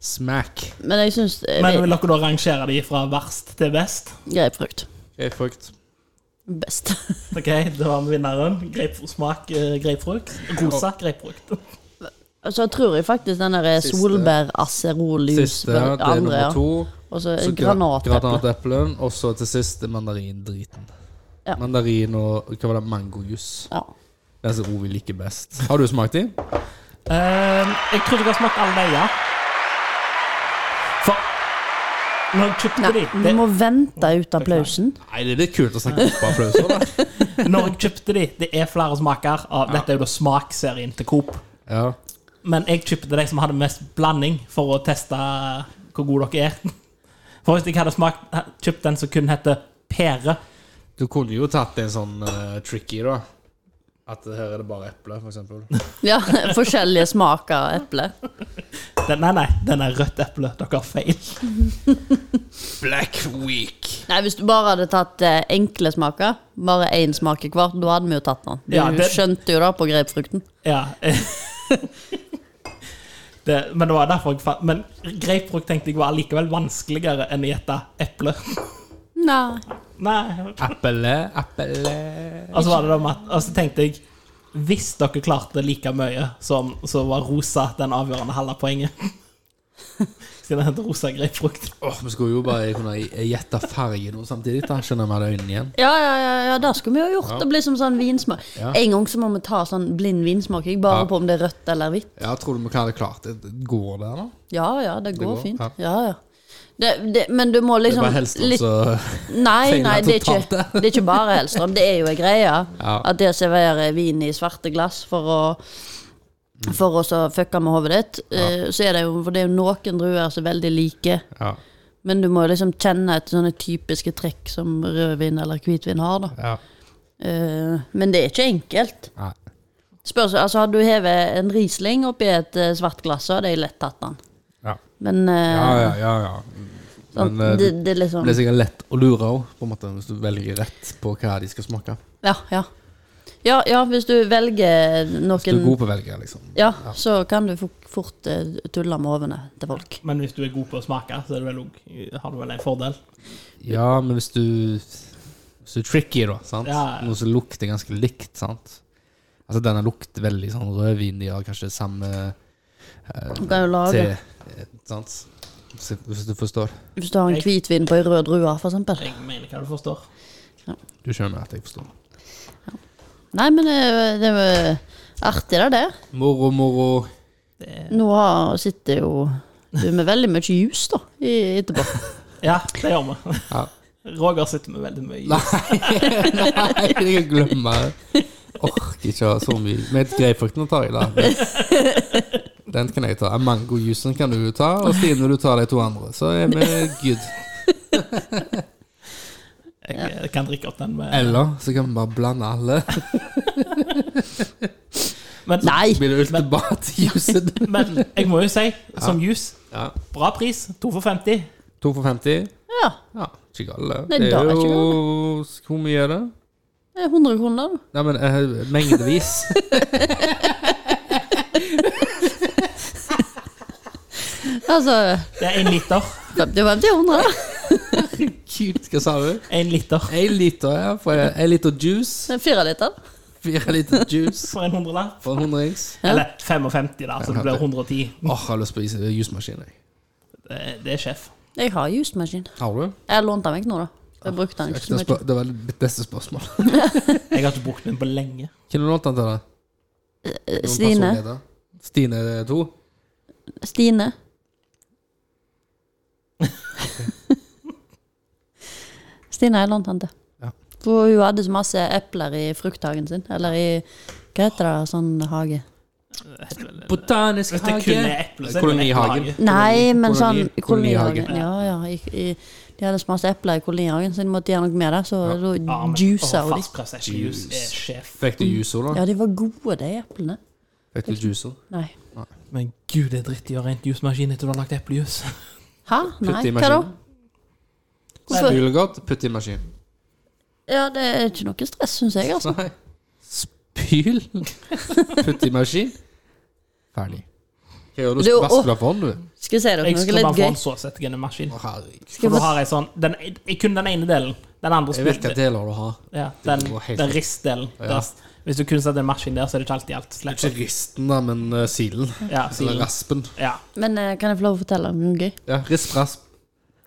[SPEAKER 2] Smack.
[SPEAKER 1] Men jeg syns
[SPEAKER 3] Men vil dere da rangere de fra verst til best?
[SPEAKER 1] Grapefrukt.
[SPEAKER 2] Grapefrukt.
[SPEAKER 1] Best. [LAUGHS]
[SPEAKER 3] Ok, Det var vinneren. Grapefrukt- Smak eh, grapefrukt. Rosa grapefrukt.
[SPEAKER 1] Så tror jeg faktisk den der
[SPEAKER 2] Siste.
[SPEAKER 1] solbær-acerol-lus
[SPEAKER 2] Siste, det er
[SPEAKER 1] andre,
[SPEAKER 2] nummer
[SPEAKER 1] ja.
[SPEAKER 2] to.
[SPEAKER 1] Og så
[SPEAKER 2] Så gra-
[SPEAKER 1] granateple.
[SPEAKER 2] granateplen, og så til sist mandarindriten.
[SPEAKER 1] Ja.
[SPEAKER 2] Mandarin og hva var det, mangojus.
[SPEAKER 1] Ja.
[SPEAKER 2] Det er så ord vi liker best. Har du smakt de?
[SPEAKER 3] Eh, jeg tror dere har smakt alle de, ja. For når jeg kjøpte de,
[SPEAKER 1] Vi
[SPEAKER 3] det,
[SPEAKER 1] må vente ut applausen.
[SPEAKER 2] Nei, det er litt kult å snakke opp applauser, da.
[SPEAKER 3] når jeg kjøpte de, det er flere smaker. Av, Dette er jo da smaksserien til Coop.
[SPEAKER 2] [LAUGHS] Ja.
[SPEAKER 3] Men jeg kjøpte de som hadde mest blanding, for å teste hvor gode dere er. [LAUGHS] For hvis jeg hadde smakt, kjøpt den som kun heter pære
[SPEAKER 2] Du kunne jo tatt en sånn eh, tricky, da. At her er det bare eple, for eksempel.
[SPEAKER 1] Ja, [LAUGHS] forskjellige smaker av eple.
[SPEAKER 3] den, Nei, nei, den er rødt eple. Dere har feil.
[SPEAKER 2] [LAUGHS]
[SPEAKER 3] [LAUGHS]
[SPEAKER 2] Black Week.
[SPEAKER 1] Nei, Hvis du bare hadde tatt eh, enkle smaker, bare én smak i hvert, da hadde vi jo tatt den. Du
[SPEAKER 3] Ja, det-
[SPEAKER 1] skjønte jo det på grapefrukten.
[SPEAKER 3] Ja. [LAUGHS] Det, men det var derfor jeg fant Men grapefrukt tenkte jeg var allikevel vanskeligere enn å gjette eple. [LAUGHS]
[SPEAKER 1] Nei.
[SPEAKER 3] Nei.
[SPEAKER 2] Apple, apple
[SPEAKER 3] Og så var det da med at Og så tenkte jeg hvis dere klarte like mye som så var rosa den avgjørende halve poenget [LAUGHS] Siden det heter rosa grapefrukt.
[SPEAKER 2] Åh, Vi skulle jo bare kunne gjette fargen og samtidig. da Skjønner vi hadde øynene igjen.
[SPEAKER 1] Ja, ja, ja, ja, det skulle vi jo gjort.
[SPEAKER 2] Ja.
[SPEAKER 1] Det blir som sånn vinsmak.
[SPEAKER 2] Ja.
[SPEAKER 1] En gang så må vi ta sånn blind vinsmaking, bare
[SPEAKER 2] Ja.
[SPEAKER 1] på om det er rødt eller hvitt.
[SPEAKER 2] Ja, Tror du vi hadde klart det? Går det, da?
[SPEAKER 1] Ja, ja, det går,
[SPEAKER 2] går, ja.
[SPEAKER 1] fint. Ja, ja. Det, det, men du må
[SPEAKER 2] Det er
[SPEAKER 1] liksom
[SPEAKER 2] bare helst
[SPEAKER 1] litt-
[SPEAKER 2] altså
[SPEAKER 1] Nei, nei, det er,
[SPEAKER 2] totalt,
[SPEAKER 1] ikke, det er ikke bare Hellstrøm. Det er jo en greie
[SPEAKER 2] Ja.
[SPEAKER 1] at det serverer vin i svarte glass for å for å så fucke med hodet ditt. Eh, Så er det jo, for det er jo noen druer som er veldig like,
[SPEAKER 2] Ja.
[SPEAKER 1] Men du må jo liksom kjenne etter sånne typiske trekk som rødvin eller hvitvin har, da.
[SPEAKER 2] Ja.
[SPEAKER 1] Eh, men det er ikke enkelt.
[SPEAKER 2] Nei.
[SPEAKER 1] Spørs, altså Hadde du hevet en Riesling oppi et eh, svart glass, så hadde jeg lett tatt den.
[SPEAKER 2] Ja.
[SPEAKER 1] Men eh,
[SPEAKER 2] Ja, ja, ja, ja.
[SPEAKER 1] sånn,
[SPEAKER 2] Men
[SPEAKER 1] det,
[SPEAKER 2] eh, det
[SPEAKER 1] det er liksom
[SPEAKER 2] blir sikkert lett å lure òg, på en måte, hvis du velger rett på hva de skal smake.
[SPEAKER 1] Ja, ja. Ja, ja, hvis du velger
[SPEAKER 2] Hvis du er
[SPEAKER 1] noen
[SPEAKER 2] god på å velge, liksom.
[SPEAKER 1] ja, så kan du fort, fort eh, tulle med hovene til folk.
[SPEAKER 3] Men hvis du er god på å smake, så er det vel også, har du vel en fordel.
[SPEAKER 2] Ja, men hvis du Hvis du er tricky, da, sant?
[SPEAKER 3] Ja, ja.
[SPEAKER 2] noe som lukter ganske likt, sant Altså denne lukter veldig sånn rødvin, de har kanskje samme eh,
[SPEAKER 1] Du kan jo
[SPEAKER 2] te,
[SPEAKER 1] lage
[SPEAKER 2] eh, sant? Hvis- Hvis du forstår.
[SPEAKER 1] Hvis du har en hvitvin på ei rød drue, f.eks.
[SPEAKER 3] Jeg mener hva du forstår.
[SPEAKER 2] Du skjønner at jeg forstår.
[SPEAKER 1] Nei, men det, er jo- det er jo artig, da, det.
[SPEAKER 2] Moro, moro.
[SPEAKER 1] Nå har, sitter jo du med veldig mye jus da, i, etterpå. [LAUGHS]
[SPEAKER 3] Ja, det gjør vi.
[SPEAKER 2] Ja.
[SPEAKER 3] [LAUGHS] Roger sitter med veldig mye.
[SPEAKER 2] Nei, nei, jeg glemmer det. Orker ikke ha så mye. Men grapefrukten tar jeg, da. Den kan jeg ta. Mangojuicen kan du ta, og Stine, du tar de to andre. Så er vi good.
[SPEAKER 3] Jeg eh, kan drikke opp den med
[SPEAKER 2] Eller så kan vi bare blande alle.
[SPEAKER 3] Men,
[SPEAKER 1] Nei!
[SPEAKER 2] Blir det ultimatjuicen?
[SPEAKER 3] men jeg må jo si, som juice,
[SPEAKER 2] Ja.
[SPEAKER 3] bra pris. To for 50.
[SPEAKER 2] To for 50.
[SPEAKER 1] Ja,
[SPEAKER 2] Ja, ikke galt.
[SPEAKER 1] Nei,
[SPEAKER 2] Det
[SPEAKER 1] da er
[SPEAKER 2] er
[SPEAKER 1] ikke
[SPEAKER 2] jo Hvor mye er det?
[SPEAKER 1] det er 100 kroner, da.
[SPEAKER 2] Nei, men eh, mengdevis. [LAUGHS]
[SPEAKER 1] Altså
[SPEAKER 3] Det er én liter.
[SPEAKER 1] 50-100, da.
[SPEAKER 2] Kult, hva sa du?
[SPEAKER 3] En liter
[SPEAKER 2] Én liter, ja. For én liter juice.
[SPEAKER 1] Det er Fire liter.
[SPEAKER 2] Fire liter juice
[SPEAKER 3] for en hundrelapp.
[SPEAKER 2] for en hundrings.
[SPEAKER 1] Ja.
[SPEAKER 3] Eller 55, da, så det blir 110.
[SPEAKER 2] Åh, jeg har lyst på is- jusmaskin, jeg.
[SPEAKER 3] Det, det er sjef.
[SPEAKER 1] Jeg har jusmaskin.
[SPEAKER 2] Har du?
[SPEAKER 1] Jeg lånte den vekk nå, da. Jeg brukte den
[SPEAKER 2] Det,
[SPEAKER 1] ikke så mye.
[SPEAKER 2] spør- det var mitt neste [LAUGHS] spørsmål.
[SPEAKER 3] Jeg har ikke brukt den på lenge.
[SPEAKER 2] Hvem lånte den til deg?
[SPEAKER 1] Eh,
[SPEAKER 2] Noen
[SPEAKER 1] Stine.
[SPEAKER 2] personligheter? Stine 2?
[SPEAKER 1] Stine. Stine jeg lånte den til.
[SPEAKER 2] Ja.
[SPEAKER 1] For hun hadde så masse epler i frukthagen sin. Eller i Hva heter det, sånn hage?
[SPEAKER 2] Botanisk
[SPEAKER 3] Hvis det kun er eple, så er det jo en
[SPEAKER 2] Kolonihagen.
[SPEAKER 3] eplehage.
[SPEAKER 1] Nei, men sånn
[SPEAKER 2] koloni-
[SPEAKER 1] kolonihagen.
[SPEAKER 2] kolonihagen.
[SPEAKER 1] Ja, ja. I, i, de hadde så masse epler i kolonihagen, så de måtte gjøre noe med det. Så da
[SPEAKER 3] Ja, men-
[SPEAKER 1] juica
[SPEAKER 3] Åh,
[SPEAKER 1] hun de.
[SPEAKER 3] Fastpressa eplejuice er sjef.
[SPEAKER 2] Fikk du juso, da?
[SPEAKER 1] Ja, de var gode, de eplene.
[SPEAKER 2] Fikk du juso?
[SPEAKER 1] Nei.
[SPEAKER 3] Men gud, det er dritt å gjøre rent juicemaskin etter du har lagt eplejuice.
[SPEAKER 1] Hæ?
[SPEAKER 2] Putt
[SPEAKER 1] Nei,
[SPEAKER 2] i
[SPEAKER 1] hva da?
[SPEAKER 2] maskinen.
[SPEAKER 1] Hvorfor?
[SPEAKER 2] Julegodt, putt i maskin.
[SPEAKER 1] Ja, det er ikke noe stress, syns jeg, altså.
[SPEAKER 2] Nei.
[SPEAKER 1] [LAUGHS]
[SPEAKER 2] Spyl. Putt i maskin. Ferdig. Hva gjør du?
[SPEAKER 1] Det er jo-
[SPEAKER 2] Vasker du av hånd, du?
[SPEAKER 1] Skal jeg si dere
[SPEAKER 3] Jeg
[SPEAKER 1] noe
[SPEAKER 3] skrur den
[SPEAKER 1] litt gøy?
[SPEAKER 3] foran, så setter jeg den i maskin.
[SPEAKER 2] Å, herregud.
[SPEAKER 1] Skal
[SPEAKER 3] For
[SPEAKER 1] jeg
[SPEAKER 3] du
[SPEAKER 1] få-
[SPEAKER 3] har ei sånn den, jeg- Kun den ene delen. Den andre
[SPEAKER 2] Jeg vet hvilke
[SPEAKER 3] spyler.
[SPEAKER 2] deler du har.
[SPEAKER 3] Ja, den
[SPEAKER 2] Det går helt
[SPEAKER 3] den
[SPEAKER 2] fint.
[SPEAKER 3] ristdelen.
[SPEAKER 2] Ja.
[SPEAKER 3] Der- Hvis du kun setter en maskin der, så er det ikke alltid alt
[SPEAKER 2] Ikke
[SPEAKER 3] slipper.
[SPEAKER 2] risten, da, men eh, silen.
[SPEAKER 3] Ja,
[SPEAKER 2] Eller
[SPEAKER 3] silen.
[SPEAKER 2] raspen.
[SPEAKER 3] Ja.
[SPEAKER 1] Men eh, kan jeg få lov å fortelle om noe gøy?
[SPEAKER 2] Ja, Rist-rasp.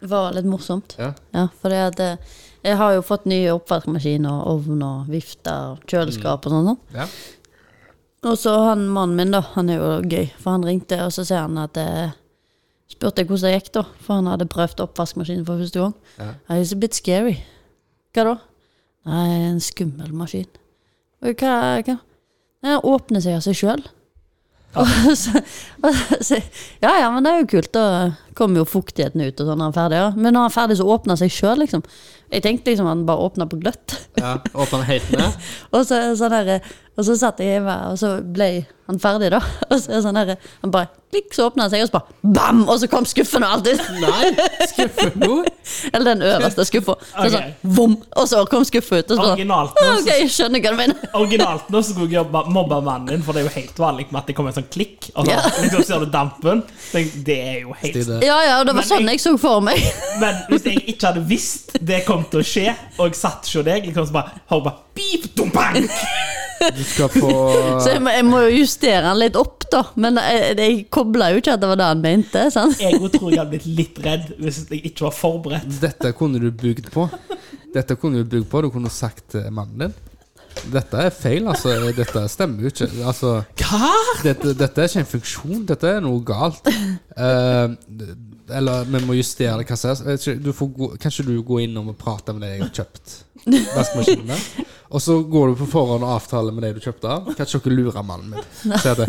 [SPEAKER 1] Det var litt morsomt.
[SPEAKER 2] Ja.
[SPEAKER 1] Ja, for det at eh, jeg har jo fått nye oppvaskmaskiner, ovn og vifter, og kjøleskap og sånn. sånn.
[SPEAKER 2] Ja.
[SPEAKER 1] Og så han mannen min, da, han er jo gøy, for han ringte, og så sier han at eh, Spurte jeg hvordan det gikk, da, for han hadde prøvd oppvaskmaskinen for første gang.
[SPEAKER 2] Ja.
[SPEAKER 1] «Nei, It's a bit scary. Hva da? Nei, en skummel maskin. Og Hva, hva? Nei, Den åpner seg av seg sjøl. [LAUGHS] Og så, og så, ja ja, men det er jo kult. Da kommer jo fuktigheten ut og sånn når han er ferdig. Ja. Men når han er ferdig, så åpner han seg sjøl, liksom. Jeg tenkte liksom han bare åpna på gløtt.
[SPEAKER 2] ja. Åpne den helt ned.
[SPEAKER 1] Og så, er det sånn der, og så satt jeg hjemme, og så ble han ferdig, da. [LAUGHS] Og så er det sånn der, han bare klikk, så åpna han seg, og så bare bam! Og så kom skuffen og alt ut.
[SPEAKER 2] Nei, skuffer nå?
[SPEAKER 1] [LAUGHS] Eller den øverste skuffa. Så
[SPEAKER 3] Ok.
[SPEAKER 1] sånn, vom, og så kom skuffa ut. Og så,
[SPEAKER 3] Originalt
[SPEAKER 1] «Ah,
[SPEAKER 3] nå,
[SPEAKER 1] ok, jeg skjønner hva du mener.
[SPEAKER 3] Originalt nå så skulle jeg jobbe mobbe mannen din, for det er jo helt vanlig med at det kommer en sånn klikk, og så
[SPEAKER 1] Ja.
[SPEAKER 3] liksom ser du dampen. Tenk, Det er jo helt
[SPEAKER 2] Stine.
[SPEAKER 1] Ja, ja, det var
[SPEAKER 3] Men
[SPEAKER 1] sånn jeg så for meg. [LAUGHS]
[SPEAKER 3] Men hvis jeg ikke hadde visst det kom til å skje, og jeg satt hos deg, liksom så bare, har bare beep, dum, bang.
[SPEAKER 2] Du skal på
[SPEAKER 1] Så jeg må, jeg må jo justere han litt opp, da. Men jeg, jeg kobla jo ikke at det var det han mente. Sant?
[SPEAKER 3] Jeg jo tror jeg hadde blitt litt redd hvis jeg ikke var forberedt.
[SPEAKER 2] Dette kunne du bygd på. Dette kunne du bygd på. Du kunne sagt til mannen din. Dette er feil, altså. Dette stemmer jo ikke. Altså,
[SPEAKER 3] Hva?
[SPEAKER 2] dette, dette er ikke en funksjon. Dette er noe galt. Eh, eller vi må justere hva som er du får gå, Kanskje du går innom og prater med de jeg har kjøpt vaskemaskinene? Og så går du på forhånd og avtaler med de du kjøpte av. Kanskje dere lurer mannen min. Så er det,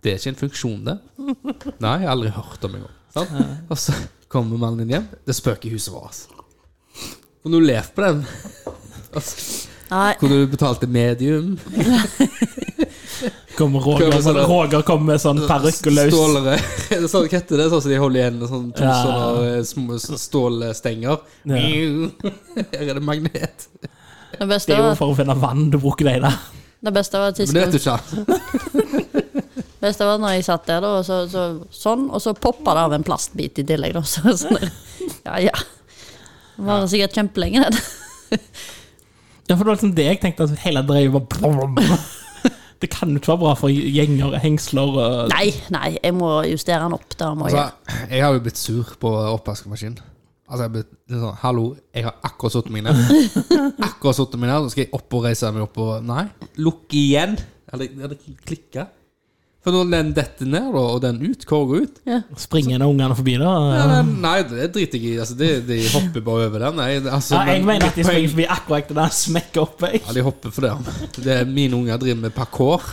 [SPEAKER 2] det er ikke en funksjon, det. Nei, jeg har aldri hørt om engang. Sant? Og så kommer mannen din hjem. Det spøker i huset vårt. Kunne du levd på den? Altså,
[SPEAKER 1] Nei,
[SPEAKER 2] Kunne du betalt et medium?
[SPEAKER 3] Kommer Roger,
[SPEAKER 2] Kommer sånn-
[SPEAKER 3] Roger kommer med sånn parykk og løs
[SPEAKER 2] Stålere. [LAUGHS] Sånn, hva heter det? Sånn som de holder i hendene? Sånn, to
[SPEAKER 3] Ja.
[SPEAKER 2] sånne eh, små s- stålstenger?
[SPEAKER 3] Ja.
[SPEAKER 2] [LAUGHS] Her er det magnet.
[SPEAKER 1] det beste
[SPEAKER 3] Det er jo
[SPEAKER 1] var,
[SPEAKER 3] for å finne vann du bruker deg der.
[SPEAKER 1] det beste var
[SPEAKER 2] Men det
[SPEAKER 1] tidspunkt.
[SPEAKER 2] vet du ikke. han.
[SPEAKER 1] Beste var når jeg satt der, da, og så, så, sånn, og så poppa det av en plastbit i tillegg. Da. [LAUGHS] Så, sånn, ja, ja. Det varer sikkert kjempelenge, det.
[SPEAKER 3] Ja, for det var liksom det jeg tenkte, at hele drevet var blom. Det kan jo ikke være bra for gjenger, hengsler og
[SPEAKER 1] Nei, nei, jeg må justere den opp. Da må jeg.
[SPEAKER 2] Altså, jeg har jo blitt sur på oppvaskmaskinen. Altså, jeg har blitt litt sånn Hallo, jeg har akkurat satt
[SPEAKER 3] [LAUGHS]
[SPEAKER 2] meg ned. Akkurat satt meg ned, så skal jeg opp og reise meg opp og Nei. Lukk igjen. Eller, eller klikke. For når den detter ned, da, og den ut, korger ut
[SPEAKER 3] springende ungene forbi. da.
[SPEAKER 2] ja, den, Nei, det driter jeg i. Altså, de, de hopper bare over den. Nei, altså,
[SPEAKER 3] Ja, jeg
[SPEAKER 2] men-
[SPEAKER 3] mener at de
[SPEAKER 2] mitt poeng-
[SPEAKER 3] springer forbi akkurat det der smekker opp. Jeg.
[SPEAKER 2] Ja, de hopper for det. ja. det er mine unger driver med parkour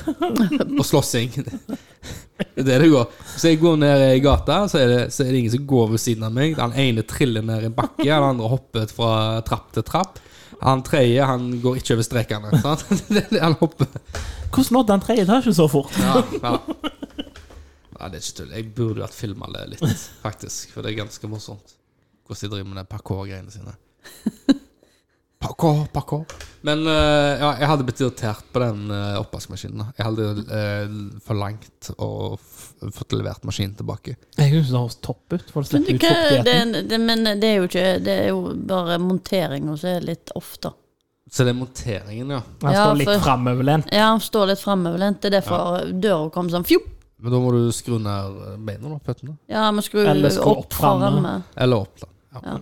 [SPEAKER 2] og slåssing. Det er det det går. Så jeg går ned i gata, så er, det, så er det ingen som går ved siden av meg. Den ene triller ned i en bakke, den andre hopper fra trapp til trapp. Han tredje han går ikke over strekene. Sant? [LAUGHS] Det er det Han hopper.
[SPEAKER 3] Hvordan nådde han tredje etasje så fort?
[SPEAKER 2] Ja, ja. Nei, det er ikke tull. Jeg burde vært filma det litt, faktisk. For det er ganske morsomt hvordan de driver med de parkour-greiene sine. Parkour, parkour. Men eh, ja, jeg hadde blitt irritert på den eh, oppvaskmaskinen. da. Jeg hadde eh, forlangt å f fått levert maskinen tilbake.
[SPEAKER 3] Jeg syns det høres topp ut. for å
[SPEAKER 1] Men,
[SPEAKER 3] slippe ut
[SPEAKER 1] hva, det,
[SPEAKER 3] fuktigheten.
[SPEAKER 1] det, men det er jo ikke Det er jo bare monteringa som er litt off, da.
[SPEAKER 2] Så det er monteringen, ja.
[SPEAKER 3] Han
[SPEAKER 1] Ja,
[SPEAKER 3] står litt
[SPEAKER 1] for-
[SPEAKER 3] framoverlent.
[SPEAKER 1] Ja, han står litt framoverlent. Det er derfor døra kom sånn fjopp.
[SPEAKER 2] Men da må du skru ned beina, da. Føttene.
[SPEAKER 1] Ja, vi skrur
[SPEAKER 3] Eller skru
[SPEAKER 1] opp
[SPEAKER 3] opp fremme.
[SPEAKER 1] framme.
[SPEAKER 2] Eller opp, da. Ja.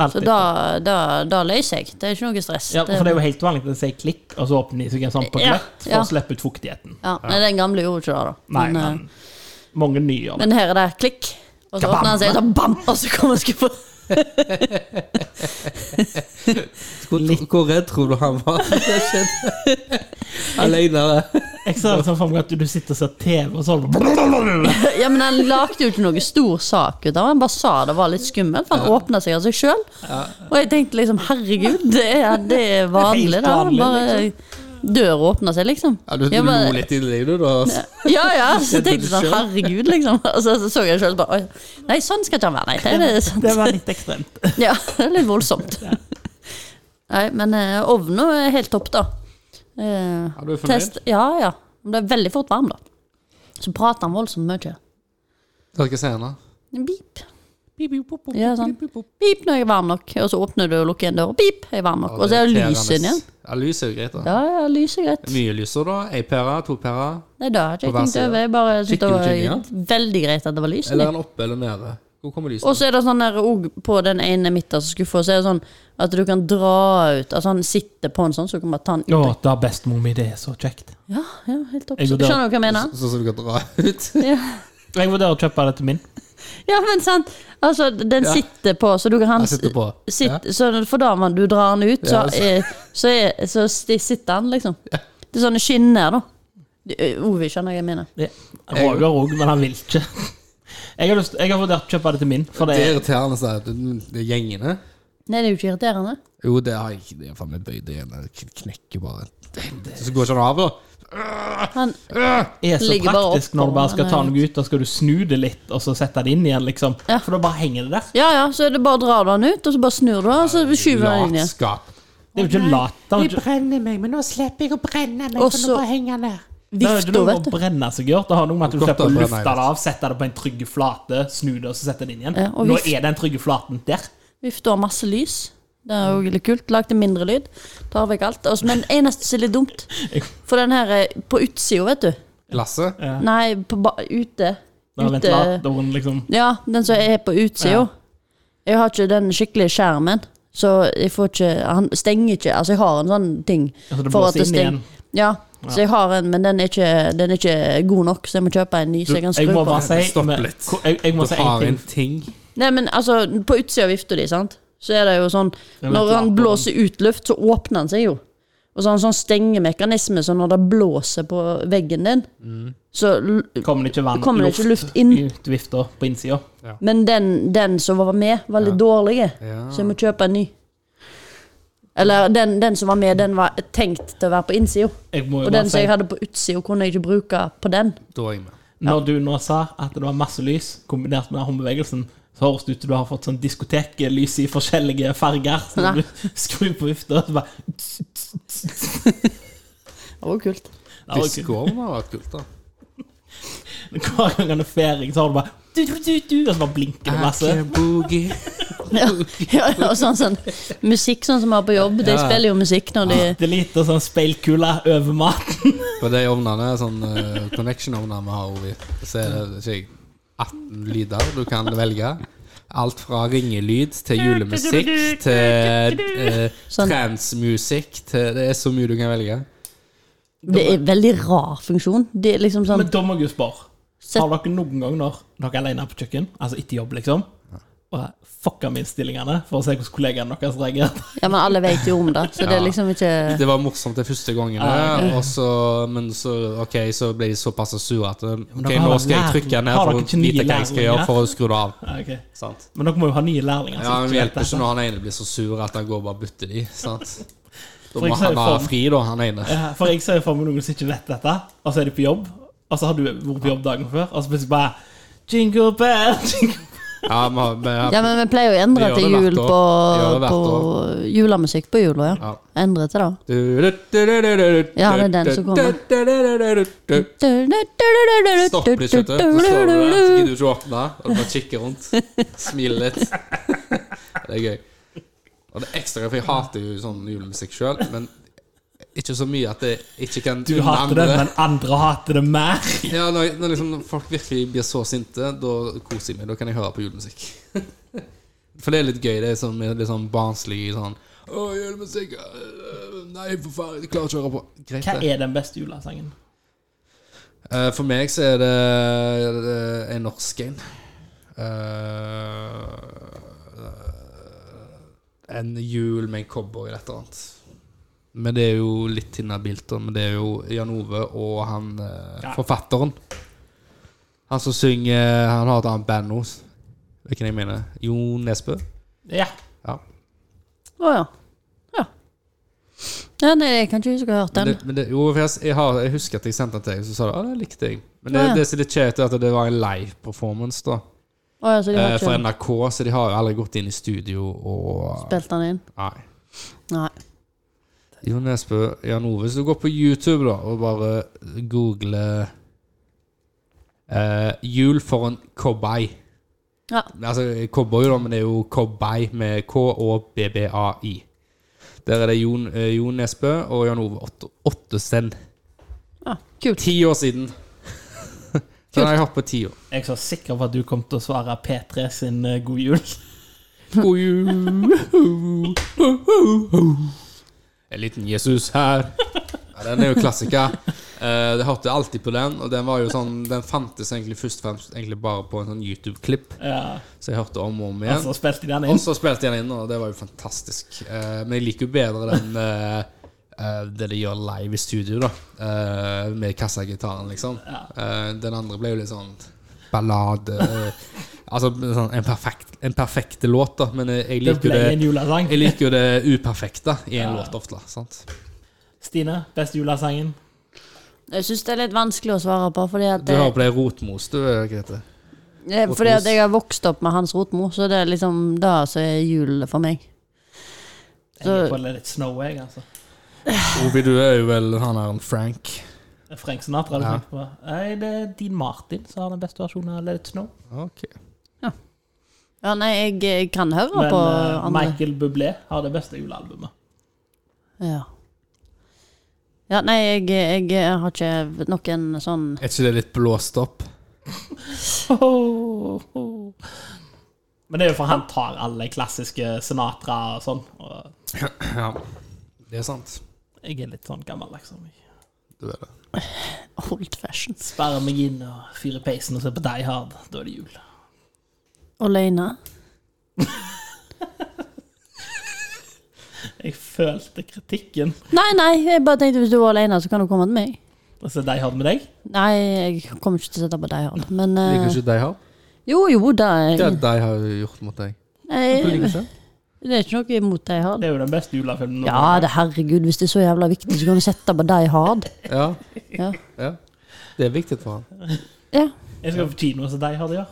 [SPEAKER 1] Så
[SPEAKER 3] Alltid.
[SPEAKER 1] da, da, da løser jeg. Det er ikke noe stress.
[SPEAKER 3] Ja, for det er jo helt vanlig at det sier klikk, og så åpner de seg en sånn på
[SPEAKER 1] Ja,
[SPEAKER 3] gløtt for
[SPEAKER 1] ja.
[SPEAKER 3] å slippe ut fuktigheten.
[SPEAKER 1] ja, men den gamle gjorde ikke det, da.
[SPEAKER 3] Nei,
[SPEAKER 1] Men, eh,
[SPEAKER 3] men mange nye gjør det.
[SPEAKER 1] Men her er det klikk, og så
[SPEAKER 3] Kabam!
[SPEAKER 1] åpner han seg, og så bam, og så kommer skuffa.
[SPEAKER 2] Hvor, hvor redd tror du han var? Det skjedde
[SPEAKER 1] [LAUGHS]
[SPEAKER 2] aleine.
[SPEAKER 3] Jeg ser liksom for meg at du sitter og ser TV, og sånn. så
[SPEAKER 1] [LAUGHS] Ja, men han lagde jo ikke noe stor sak ut av det. Han bare sa det var litt skummelt, for han åpna seg av seg sjøl. Og jeg tenkte liksom, herregud, det er, det er vanlig,
[SPEAKER 3] Helt
[SPEAKER 1] da.
[SPEAKER 3] vanlig,
[SPEAKER 1] Bare døra åpner seg, liksom.
[SPEAKER 2] Ja, du, du
[SPEAKER 1] Jeg bare-
[SPEAKER 2] lo litt i det, du, da.
[SPEAKER 1] [LAUGHS] Ja, ja, så tenkte jeg sånn,
[SPEAKER 2] Kjente
[SPEAKER 1] herregud, liksom. [LAUGHS] Og så, så så jeg sjøl bare, oi, nei, sånn skal ikke han være, nei. [LAUGHS] Det er det sånn.
[SPEAKER 3] Det var litt ekstremt.
[SPEAKER 1] [LAUGHS] Ja, det er litt voldsomt. Nei, men eh, ovnen er helt topp, da. Eh,
[SPEAKER 2] Ja, du er fornøyd?
[SPEAKER 1] test, ja, ja. Den ble veldig fort varm, da. Så prater han voldsomt mye.
[SPEAKER 2] Hva skal jeg si nå?
[SPEAKER 1] Beep. Ja,
[SPEAKER 2] Ja,
[SPEAKER 1] sånn. Beep når jeg er varm nok. Og så åpner du og lukker igjen døra. Beep, jeg er varm nok. Og så er det lys inni.
[SPEAKER 2] Ja, lys er jo greit, da.
[SPEAKER 1] Ja, ja, lyset er greit.
[SPEAKER 2] Mye lyser, da. Ei pære, to pærer.
[SPEAKER 1] Nei, da har jeg
[SPEAKER 2] På
[SPEAKER 1] ikke
[SPEAKER 2] hver
[SPEAKER 1] tenkt
[SPEAKER 2] side.
[SPEAKER 1] over. Jeg bare syntes det
[SPEAKER 2] Chicken
[SPEAKER 1] var veldig greit at det var lys inni.
[SPEAKER 2] Eller er den oppe eller nede? Hvor kommer lyset?
[SPEAKER 1] Og så er det sånn der og på den ene midterste skuffa, så er det sånn at du kan dra ut Altså han sitter på en sånn, så du kan bare ta den
[SPEAKER 3] Å,
[SPEAKER 1] ut.
[SPEAKER 3] da bestemor mi, det er så kjekt.
[SPEAKER 1] Ja, ja, helt topp.
[SPEAKER 3] Jeg
[SPEAKER 1] Skjønner du
[SPEAKER 3] vurderer-
[SPEAKER 1] hva jeg mener?
[SPEAKER 2] [LAUGHS] Så- Sånn som du kan dra
[SPEAKER 1] [LAUGHS]
[SPEAKER 2] ut?
[SPEAKER 1] Ja.
[SPEAKER 3] Jeg vurderer å kjøpe det til min.
[SPEAKER 1] ja, men sant. Altså, den
[SPEAKER 2] Ja.
[SPEAKER 1] sitter på, så du kan
[SPEAKER 2] Jeg
[SPEAKER 1] han
[SPEAKER 2] sitter på.
[SPEAKER 1] sitt,
[SPEAKER 2] Ja.
[SPEAKER 1] Så for da man, du drar den ut, så,
[SPEAKER 2] Ja, altså.
[SPEAKER 1] eh, så, er, så sti- sitter han, liksom. Det er sånne skinner, da. Det- eh, Ove, skjønner jeg hva jeg mener.
[SPEAKER 3] Ja. Roger òg, men han vil ikke. Jeg har, lyst, jeg har vurdert å kjøpe det til min, for
[SPEAKER 2] Det
[SPEAKER 3] det
[SPEAKER 2] er
[SPEAKER 3] er
[SPEAKER 2] irriterende så at det det er gjengene.
[SPEAKER 1] Nei, det er jo ikke irriterende.
[SPEAKER 2] Jo, det har jeg ikke. Det er faen meg bøyd igjen. Jeg knekker bare. Så går ikke den av, da.
[SPEAKER 1] Han,
[SPEAKER 3] er så
[SPEAKER 1] Ligger bare
[SPEAKER 3] praktisk
[SPEAKER 1] oppå,
[SPEAKER 3] når du bare skal
[SPEAKER 1] men
[SPEAKER 3] ta
[SPEAKER 1] jeg
[SPEAKER 3] noe ut, da skal du snu det litt, og så sette det inn igjen, liksom.
[SPEAKER 1] Ja.
[SPEAKER 3] For da bare henger det der.
[SPEAKER 1] ja ja, så er det bare drar du den ut, og så bare snur du den, og så skyver du den inn igjen.
[SPEAKER 2] Latskap.
[SPEAKER 3] Det er jo ikke lat. Det er jo
[SPEAKER 4] Jeg
[SPEAKER 3] ikke-
[SPEAKER 4] brenner meg, men nå slipper jeg å brenne meg.
[SPEAKER 1] Og
[SPEAKER 4] for
[SPEAKER 1] så-
[SPEAKER 4] nå bare henger jeg der.
[SPEAKER 3] det er jo ikke
[SPEAKER 1] Vifta,
[SPEAKER 3] noe
[SPEAKER 1] vet
[SPEAKER 3] med
[SPEAKER 1] du.
[SPEAKER 3] å brenne seg å gjøre. Det har noe med at du
[SPEAKER 2] Godt å
[SPEAKER 3] slipper å
[SPEAKER 2] brenne,
[SPEAKER 3] lufte det av, sette det på en trygg flate, snu det, og så sette det inn igjen.
[SPEAKER 1] Ja, og
[SPEAKER 3] Nå
[SPEAKER 1] vift-
[SPEAKER 3] er den trygge flaten der.
[SPEAKER 1] Vifta har masse lys. Det er jo litt kult. Lagde mindre lyd. Tar vekk alt. Og så- Men eneste som er litt dumt, for den her eh, på utsida, vet du.
[SPEAKER 2] Lasse?
[SPEAKER 1] Nei, på ba ute.
[SPEAKER 3] Når
[SPEAKER 1] Ute-
[SPEAKER 3] ventilatoren liksom
[SPEAKER 1] Ja, den som er på utsida. Jeg har ikke den skikkelige skjermen, så jeg får ikke Han stenger ikke Altså, jeg har en sånn ting
[SPEAKER 3] Altså, det
[SPEAKER 1] for at
[SPEAKER 3] blåser
[SPEAKER 1] det
[SPEAKER 3] inn
[SPEAKER 1] stenger.
[SPEAKER 3] igjen.
[SPEAKER 1] Ja, så jeg har en, men den er, ikke, den er ikke god nok, så jeg må kjøpe en ny. Så jeg kan
[SPEAKER 3] jeg
[SPEAKER 1] skru
[SPEAKER 3] må
[SPEAKER 1] på
[SPEAKER 3] bare si
[SPEAKER 2] Stopp
[SPEAKER 3] men-
[SPEAKER 2] litt.
[SPEAKER 3] ko- Jeg, jeg må
[SPEAKER 2] Du
[SPEAKER 3] si en
[SPEAKER 2] har
[SPEAKER 3] ting.
[SPEAKER 2] en ting.
[SPEAKER 1] Nei, men altså, på utsida av vifta di, sant, så er det jo sånn
[SPEAKER 3] vet
[SPEAKER 1] Når han
[SPEAKER 3] ikke.
[SPEAKER 1] blåser ut luft, så åpner han seg jo. Og så har han sånn stengemekanisme, så når det blåser på veggen din,
[SPEAKER 3] Mm.
[SPEAKER 1] så l-
[SPEAKER 3] Kommer det ikke vann,
[SPEAKER 1] kommer det ikke luft inn.
[SPEAKER 3] ut vifta på innsida?
[SPEAKER 1] Men den, den som var med, var litt
[SPEAKER 2] Ja.
[SPEAKER 1] dårlig, eh.
[SPEAKER 2] Ja.
[SPEAKER 1] så jeg må kjøpe en ny. Eller den, den som var med, den var tenkt til å være på innsida.
[SPEAKER 3] Jeg må jo
[SPEAKER 1] Og
[SPEAKER 3] bare
[SPEAKER 1] den som
[SPEAKER 3] si,
[SPEAKER 1] jeg hadde på utsida, kunne jeg ikke bruke på den.
[SPEAKER 2] Da er jeg med.
[SPEAKER 3] når du nå sa at det var masse lys kombinert med håndbevegelsen, så høres det ut som du har fått sånn diskoteklys i forskjellige farger. Så
[SPEAKER 1] Nei.
[SPEAKER 3] når du [LAUGHS] skrur på vifta, så bare
[SPEAKER 1] Det var jo kult.
[SPEAKER 3] Det var kult.
[SPEAKER 2] Diskoen har vært kult, da.
[SPEAKER 3] Hver gang han er ferdig, så har du bare du, du, du, du, Og så bare blinker det masse.
[SPEAKER 2] I can boogie.
[SPEAKER 1] Ja, [LAUGHS] ja, ja, og sånn, sånn musikk sånn som vi har på jobb. De
[SPEAKER 2] Ja.
[SPEAKER 1] spiller jo musikk når de
[SPEAKER 3] Det er lite sånn speilkule over maten.
[SPEAKER 2] På de ovnene, sånn eh, connection-ovner vi har, Ovi, så er det ikke 18 lyder du kan velge. Alt fra ringelyd til julemusikk til uh,
[SPEAKER 1] Sånn.
[SPEAKER 2] transmusikk til Det er så mye du kan velge.
[SPEAKER 1] Det er veldig rar funksjon. Det er liksom sånn
[SPEAKER 3] [LAUGHS] Men da må jeg jo spørre.
[SPEAKER 1] Sett-
[SPEAKER 3] Har dere noen gang når dere er alene på kjøkken, altså etter jobb, liksom, og fucka med innstillingene for å se hvordan kollegaene deres reagerte? [LAUGHS]
[SPEAKER 1] Ja, men alle vet jo om det, så det er
[SPEAKER 2] Ja.
[SPEAKER 1] liksom ikke
[SPEAKER 2] Det var morsomt de første gangene, og så, men så, ok, så ble de såpass sure at eh,
[SPEAKER 3] men
[SPEAKER 2] Ok,
[SPEAKER 3] dere har
[SPEAKER 2] nå
[SPEAKER 3] da
[SPEAKER 2] skal jeg
[SPEAKER 3] lært-
[SPEAKER 2] trykke ned
[SPEAKER 3] har
[SPEAKER 2] for
[SPEAKER 3] dere
[SPEAKER 2] å
[SPEAKER 3] ikke nye
[SPEAKER 2] vite hva jeg skal
[SPEAKER 3] lærlinger?
[SPEAKER 2] gjøre for å skru det av.
[SPEAKER 3] Ja, Ah, ok.
[SPEAKER 2] Sant?
[SPEAKER 3] Men dere må jo ha nye lærlinger.
[SPEAKER 2] Ja,
[SPEAKER 3] som
[SPEAKER 2] men Det
[SPEAKER 3] ikke vet
[SPEAKER 2] hjelper
[SPEAKER 3] dette.
[SPEAKER 2] ikke når han ene blir så sur at han går og bare butter de. Sant? Da
[SPEAKER 3] For
[SPEAKER 2] må han
[SPEAKER 3] eksempel-
[SPEAKER 2] være fri, da, han ene.
[SPEAKER 3] Ja, For jeg ser jo for meg noen som ikke vet dette, og så er de på jobb, og så har du vært på jobb dagen før, og så plutselig bare Jingle bell, [LAUGHS] jingle
[SPEAKER 2] Ja, vi har- vi har-
[SPEAKER 1] Ja, men vi pleier å endre
[SPEAKER 2] Vi gjør
[SPEAKER 1] til
[SPEAKER 2] det hvert
[SPEAKER 1] jul
[SPEAKER 2] år.
[SPEAKER 1] på,
[SPEAKER 2] Vi gjør det hvert
[SPEAKER 1] på julemusikk på jula, ja.
[SPEAKER 2] Ja.
[SPEAKER 1] Endre til det.
[SPEAKER 2] Ja,
[SPEAKER 1] det er den som kommer.
[SPEAKER 2] kommer. Stopp litt, vet du. Så står du der, så
[SPEAKER 1] Nei,
[SPEAKER 2] gidder du ikke å åpne, og du bare kikker rundt. Smiler litt. Det er gøy. Og det er ekstra gøy, for jeg hater jo sånn julemusikk sjøl, men ikke så mye at jeg ikke kan
[SPEAKER 3] Du
[SPEAKER 2] unne
[SPEAKER 3] hater det, men andre hater det [LAUGHS] mer.
[SPEAKER 2] Ja, når, når liksom folk virkelig blir så sinte, da koser jeg meg. Da kan jeg høre på julemusikk. [LAUGHS] For det er litt gøy. Det er sånn, litt sånn barnslig sånn Å, julemusikk øh, Nei, for faen, jeg klarer ikke å høre på. Greit,
[SPEAKER 3] Hva
[SPEAKER 2] det.
[SPEAKER 3] er den beste julesangen?
[SPEAKER 2] Eh, for meg så er det, er det en norsk en. Eh, en jul med en cowboy eller et eller annet. Men det er jo litt inhabilt, da, men det er jo Jan Ove og han eh,
[SPEAKER 3] Ja.
[SPEAKER 2] forfatteren. Han som synger Han har et annet band nå. Hvilken jeg mener? Jon Nesbø?
[SPEAKER 3] Ja.
[SPEAKER 2] Ja.
[SPEAKER 1] ja. Ja. ja. Nei, jeg kan ikke huske å ha hørt
[SPEAKER 2] Men
[SPEAKER 1] den.
[SPEAKER 2] det, men det, jo, for jeg, jeg, har, jeg husker at jeg sendte den til deg, så sa du ja, det likte jeg. Men det,
[SPEAKER 1] Ja, ja.
[SPEAKER 2] det som er litt kjedelig, er at det var en live performance, da.
[SPEAKER 1] Å, ja, så de har
[SPEAKER 2] Eh, for
[SPEAKER 1] ikke
[SPEAKER 2] NRK, så de har jo aldri gått inn i studio og
[SPEAKER 1] spilt den inn?
[SPEAKER 2] Nei.
[SPEAKER 1] Nei.
[SPEAKER 2] Jon Nesbø, Jan Ove, hvis du går på YouTube da og bare googler eh, 'Jul for en cowboy'.
[SPEAKER 1] Ja.
[SPEAKER 2] Altså cowboy, da, men det er jo cowboy med K og BBAI. Der er det Jon, eh, Jon Nesbø og Jan Ove Ott- Ottesen.
[SPEAKER 1] Ja, kult.
[SPEAKER 2] Ti år siden. Den har jeg hatt på ti år.
[SPEAKER 3] Jeg er så sikker på at du kom til å svare P3 sin eh, God jul. [LAUGHS]
[SPEAKER 2] God jul. En liten Jesus her. Ja, den er jo klassiker. Eh, Det hørte jeg alltid på den, og den var jo sånn Den fantes egentlig først og fremst egentlig bare på en sånn YouTube-klipp,
[SPEAKER 3] Ja,
[SPEAKER 2] så jeg hørte om og om
[SPEAKER 3] altså
[SPEAKER 2] igjen.
[SPEAKER 3] spilte de den
[SPEAKER 2] Og
[SPEAKER 3] inn.
[SPEAKER 2] så spilte jeg den inn, og det var jo fantastisk. Eh, Men jeg liker jo bedre den eh, eh, det de gjør live i studio, da. Eh, Med kassagitaren, liksom. Eh, Den andre ble jo litt sånn ballade eh, Altså sånn en perfekt, en perfekt låt, da. Men jeg, jeg
[SPEAKER 3] Det
[SPEAKER 2] liker jo
[SPEAKER 3] ble
[SPEAKER 2] det
[SPEAKER 3] en julesang.
[SPEAKER 2] jeg liker jo det uperfekte i en
[SPEAKER 3] Ja.
[SPEAKER 2] låt ofte. sant?
[SPEAKER 3] Stine, beste julesangen?
[SPEAKER 1] Jeg syns det er litt vanskelig å svare på, fordi at,
[SPEAKER 2] Du hører på det rotmos, du, Grete.
[SPEAKER 1] eh, fordi at jeg har vokst opp med Hans Rotmo, så det er liksom det som er jul for meg.
[SPEAKER 3] Jeg
[SPEAKER 1] Så-
[SPEAKER 3] er på litt snow, jeg, altså.
[SPEAKER 2] Ovi, du er jo vel han er en Frank.
[SPEAKER 3] Frank Sinatra hadde
[SPEAKER 2] Ja.
[SPEAKER 3] tenkt på. Nei, det er Dean Martin som har den beste versjonen av Let It Snow.
[SPEAKER 2] Ok.
[SPEAKER 1] Ja, nei, jeg, jeg kan høre
[SPEAKER 3] Men
[SPEAKER 1] på
[SPEAKER 3] eh,
[SPEAKER 1] andre.
[SPEAKER 3] Michael Bublé har det beste julealbumet.
[SPEAKER 1] Ja. ja nei, jeg, jeg har ikke noen sånn
[SPEAKER 2] Er ikke det litt blåst opp?
[SPEAKER 3] Men det er jo for han tar alle klassiske Sinatra og sånn. Og
[SPEAKER 2] Ja, det er sant.
[SPEAKER 3] jeg er litt sånn gammel, liksom. Jeg
[SPEAKER 2] Du er det.
[SPEAKER 1] old fashions.
[SPEAKER 3] Sperrer meg inn og fyrer peisen og ser på Die Hard. Da er det jul.
[SPEAKER 1] Alene.
[SPEAKER 3] Jeg følte kritikken.
[SPEAKER 1] Nei, nei, jeg bare tenkte hvis du var alene, så kan du komme til meg.
[SPEAKER 3] Altså, de har det med deg?
[SPEAKER 1] Nei, jeg kommer ikke til å sette på deg, Harald. Men eh,
[SPEAKER 2] Liker ikke Die Hard?
[SPEAKER 1] jo, jo, det
[SPEAKER 2] Det
[SPEAKER 1] er,
[SPEAKER 2] de har gjort mot deg. Hvorfor liker
[SPEAKER 1] jeg,
[SPEAKER 2] du ikke?
[SPEAKER 1] det er ikke noe imot deg, Harald.
[SPEAKER 3] Det er jo den beste julefilmen.
[SPEAKER 1] Ja, det, herregud, hvis det er så jævla viktig, så kan du sette på deg, Hard.
[SPEAKER 2] Ja,
[SPEAKER 1] Ja.
[SPEAKER 2] ja. Det er viktig for han.
[SPEAKER 1] Ja.
[SPEAKER 3] Jeg skal på kino, så de har det, ja.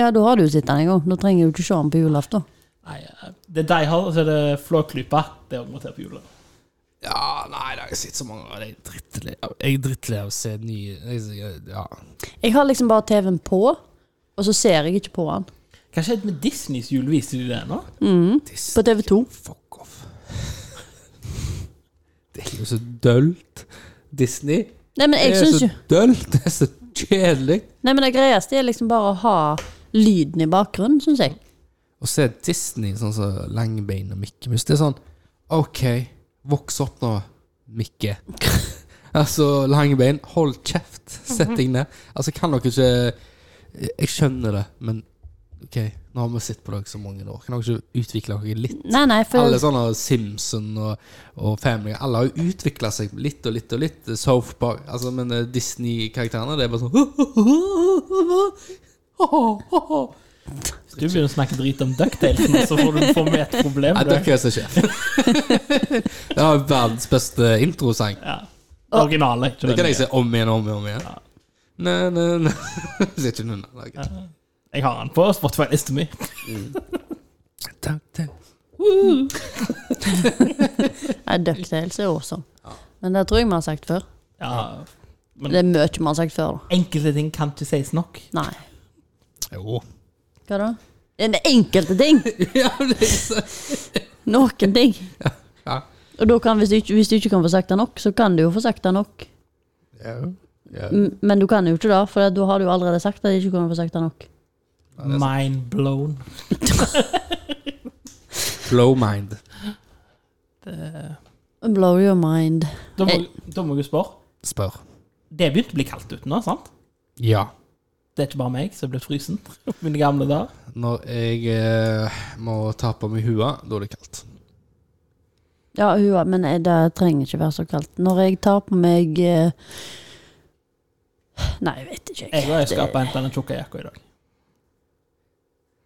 [SPEAKER 1] ja, da har du jo sett den en gang. Da trenger jeg jo ikke se den på julaften.
[SPEAKER 3] Nei, eh, det er de har, og så er det Flåklypa. Det òg må til på jula.
[SPEAKER 2] Ja, nei, det har jeg sett så mange ganger. Jeg er drittlei av- Jeg er drittlei av å se nye jeg- Ja.
[SPEAKER 1] Jeg har liksom bare TV-en på, og så ser jeg ikke på den.
[SPEAKER 3] Hva skjedde med Disneys jul? Viser de det nå?
[SPEAKER 1] På TV 2.
[SPEAKER 2] Fuck off. [LAUGHS] Det er jo så dølt. Disney.
[SPEAKER 1] Nei, men
[SPEAKER 2] Det
[SPEAKER 1] jeg
[SPEAKER 2] er
[SPEAKER 1] syns
[SPEAKER 2] så
[SPEAKER 1] jo
[SPEAKER 2] dølt. Det er så kjedelig.
[SPEAKER 1] Nei, men det greieste er liksom bare å ha lyden i bakgrunnen, syns jeg.
[SPEAKER 2] Å se Disney sånn som Langbein og Mikke Mus, det er sånn OK, voks opp nå, Mikke. [LAUGHS] altså, Langbein, hold kjeft. Sett deg ned. Altså, kan dere ikke Jeg skjønner det, men OK, nå har vi sett på dere så mange år. Kan dere ikke utvikle dere litt?
[SPEAKER 1] Nei, nei, for
[SPEAKER 2] Alle sånne Simpson og, og Family Alle har jo utvikla seg litt og litt og litt. eh, South Park altså, Men eh, Disney-karakterene, det er bare sånn
[SPEAKER 3] Hvis du begynner å snakke drit om Ducktailsen, så får du får med et
[SPEAKER 2] [LAUGHS]
[SPEAKER 3] problem.
[SPEAKER 2] Nei,
[SPEAKER 3] du.
[SPEAKER 2] dere er så sjef. [LAUGHS] Det var verdens beste introsang.
[SPEAKER 3] Ja. Originale. Ikke
[SPEAKER 2] Det
[SPEAKER 3] den
[SPEAKER 2] kan jeg
[SPEAKER 3] nye.
[SPEAKER 2] si om igjen og om igjen. Om igjen. Nei, nei, nei. [LAUGHS] Hvis ikke noen har laget det.
[SPEAKER 3] Jeg har den på Spotify-lista mi.
[SPEAKER 2] Takk, takk.
[SPEAKER 1] Nei, Ducktails er awesome. Men det tror jeg vi har sagt før.
[SPEAKER 3] Ja.
[SPEAKER 1] Det er mye vi har sagt før, da.
[SPEAKER 3] Enkelte ting kan ikke sies nok.
[SPEAKER 1] Nei.
[SPEAKER 2] Jo.
[SPEAKER 1] Hva da? Det er det enkelte ting.
[SPEAKER 2] [LAUGHS] Ja, det er så
[SPEAKER 1] Noen ting.
[SPEAKER 2] Ja.
[SPEAKER 1] Og da kan, hvis, du ikke, hvis du ikke kan få sagt det nok, så kan du jo få sagt det nok.
[SPEAKER 2] Ja, ja.
[SPEAKER 1] M- Men du kan jo ikke det, for da har du jo allerede sagt at du ikke kan få sagt det nok.
[SPEAKER 3] Mind blown.
[SPEAKER 2] Blow mind.
[SPEAKER 1] Blow your mind.
[SPEAKER 3] Da må,
[SPEAKER 1] Hey.
[SPEAKER 3] da må jeg spørre.
[SPEAKER 2] Spør.
[SPEAKER 3] Det begynte å bli kaldt ute nå, sant?
[SPEAKER 2] Ja.
[SPEAKER 3] Det er ikke bare meg som er blitt frysen. [LAUGHS] Mine gamle dager.
[SPEAKER 2] Når jeg eh, må ta på meg hua, da er det kaldt.
[SPEAKER 1] Ja, hua, men eh, det trenger ikke være så kaldt. Når jeg tar på meg eh, Nei, jeg vet ikke.
[SPEAKER 3] Jeg var i
[SPEAKER 1] Det-
[SPEAKER 3] skapet og hentet den tjukke jakka i dag.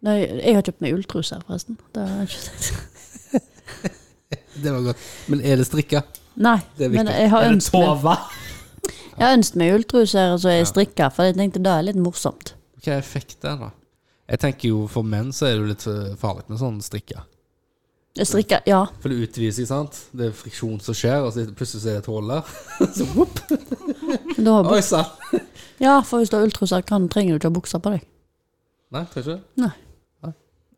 [SPEAKER 1] Nei, jeg har kjøpt meg ulltruse, forresten. Det har jeg ikke sagt.
[SPEAKER 2] Det var godt. Men er det strikka?
[SPEAKER 1] Nei,
[SPEAKER 2] Det er viktig.
[SPEAKER 1] men jeg har
[SPEAKER 3] Er det
[SPEAKER 1] ønsket meg,
[SPEAKER 3] tova?
[SPEAKER 1] jeg har ønsket meg ulltruser, og så er jeg strikka, for jeg tenkte det er litt morsomt.
[SPEAKER 2] Hva er effekten, da? Jeg tenker jo For menn så er det jo litt eh, farlig med sånn strikka.
[SPEAKER 1] Jeg strikka, ja.
[SPEAKER 2] For det utvider seg, sant? Det er friksjon som skjer, og så plutselig så er det et hull der. [LAUGHS] Så whoop,
[SPEAKER 1] men Da har jeg
[SPEAKER 2] oi
[SPEAKER 1] buk-
[SPEAKER 2] sann!
[SPEAKER 1] ja, for hvis du har ulltruser, kan, trenger du ikke ha bukser på deg.
[SPEAKER 2] Nei, tror ikke.
[SPEAKER 1] Nei.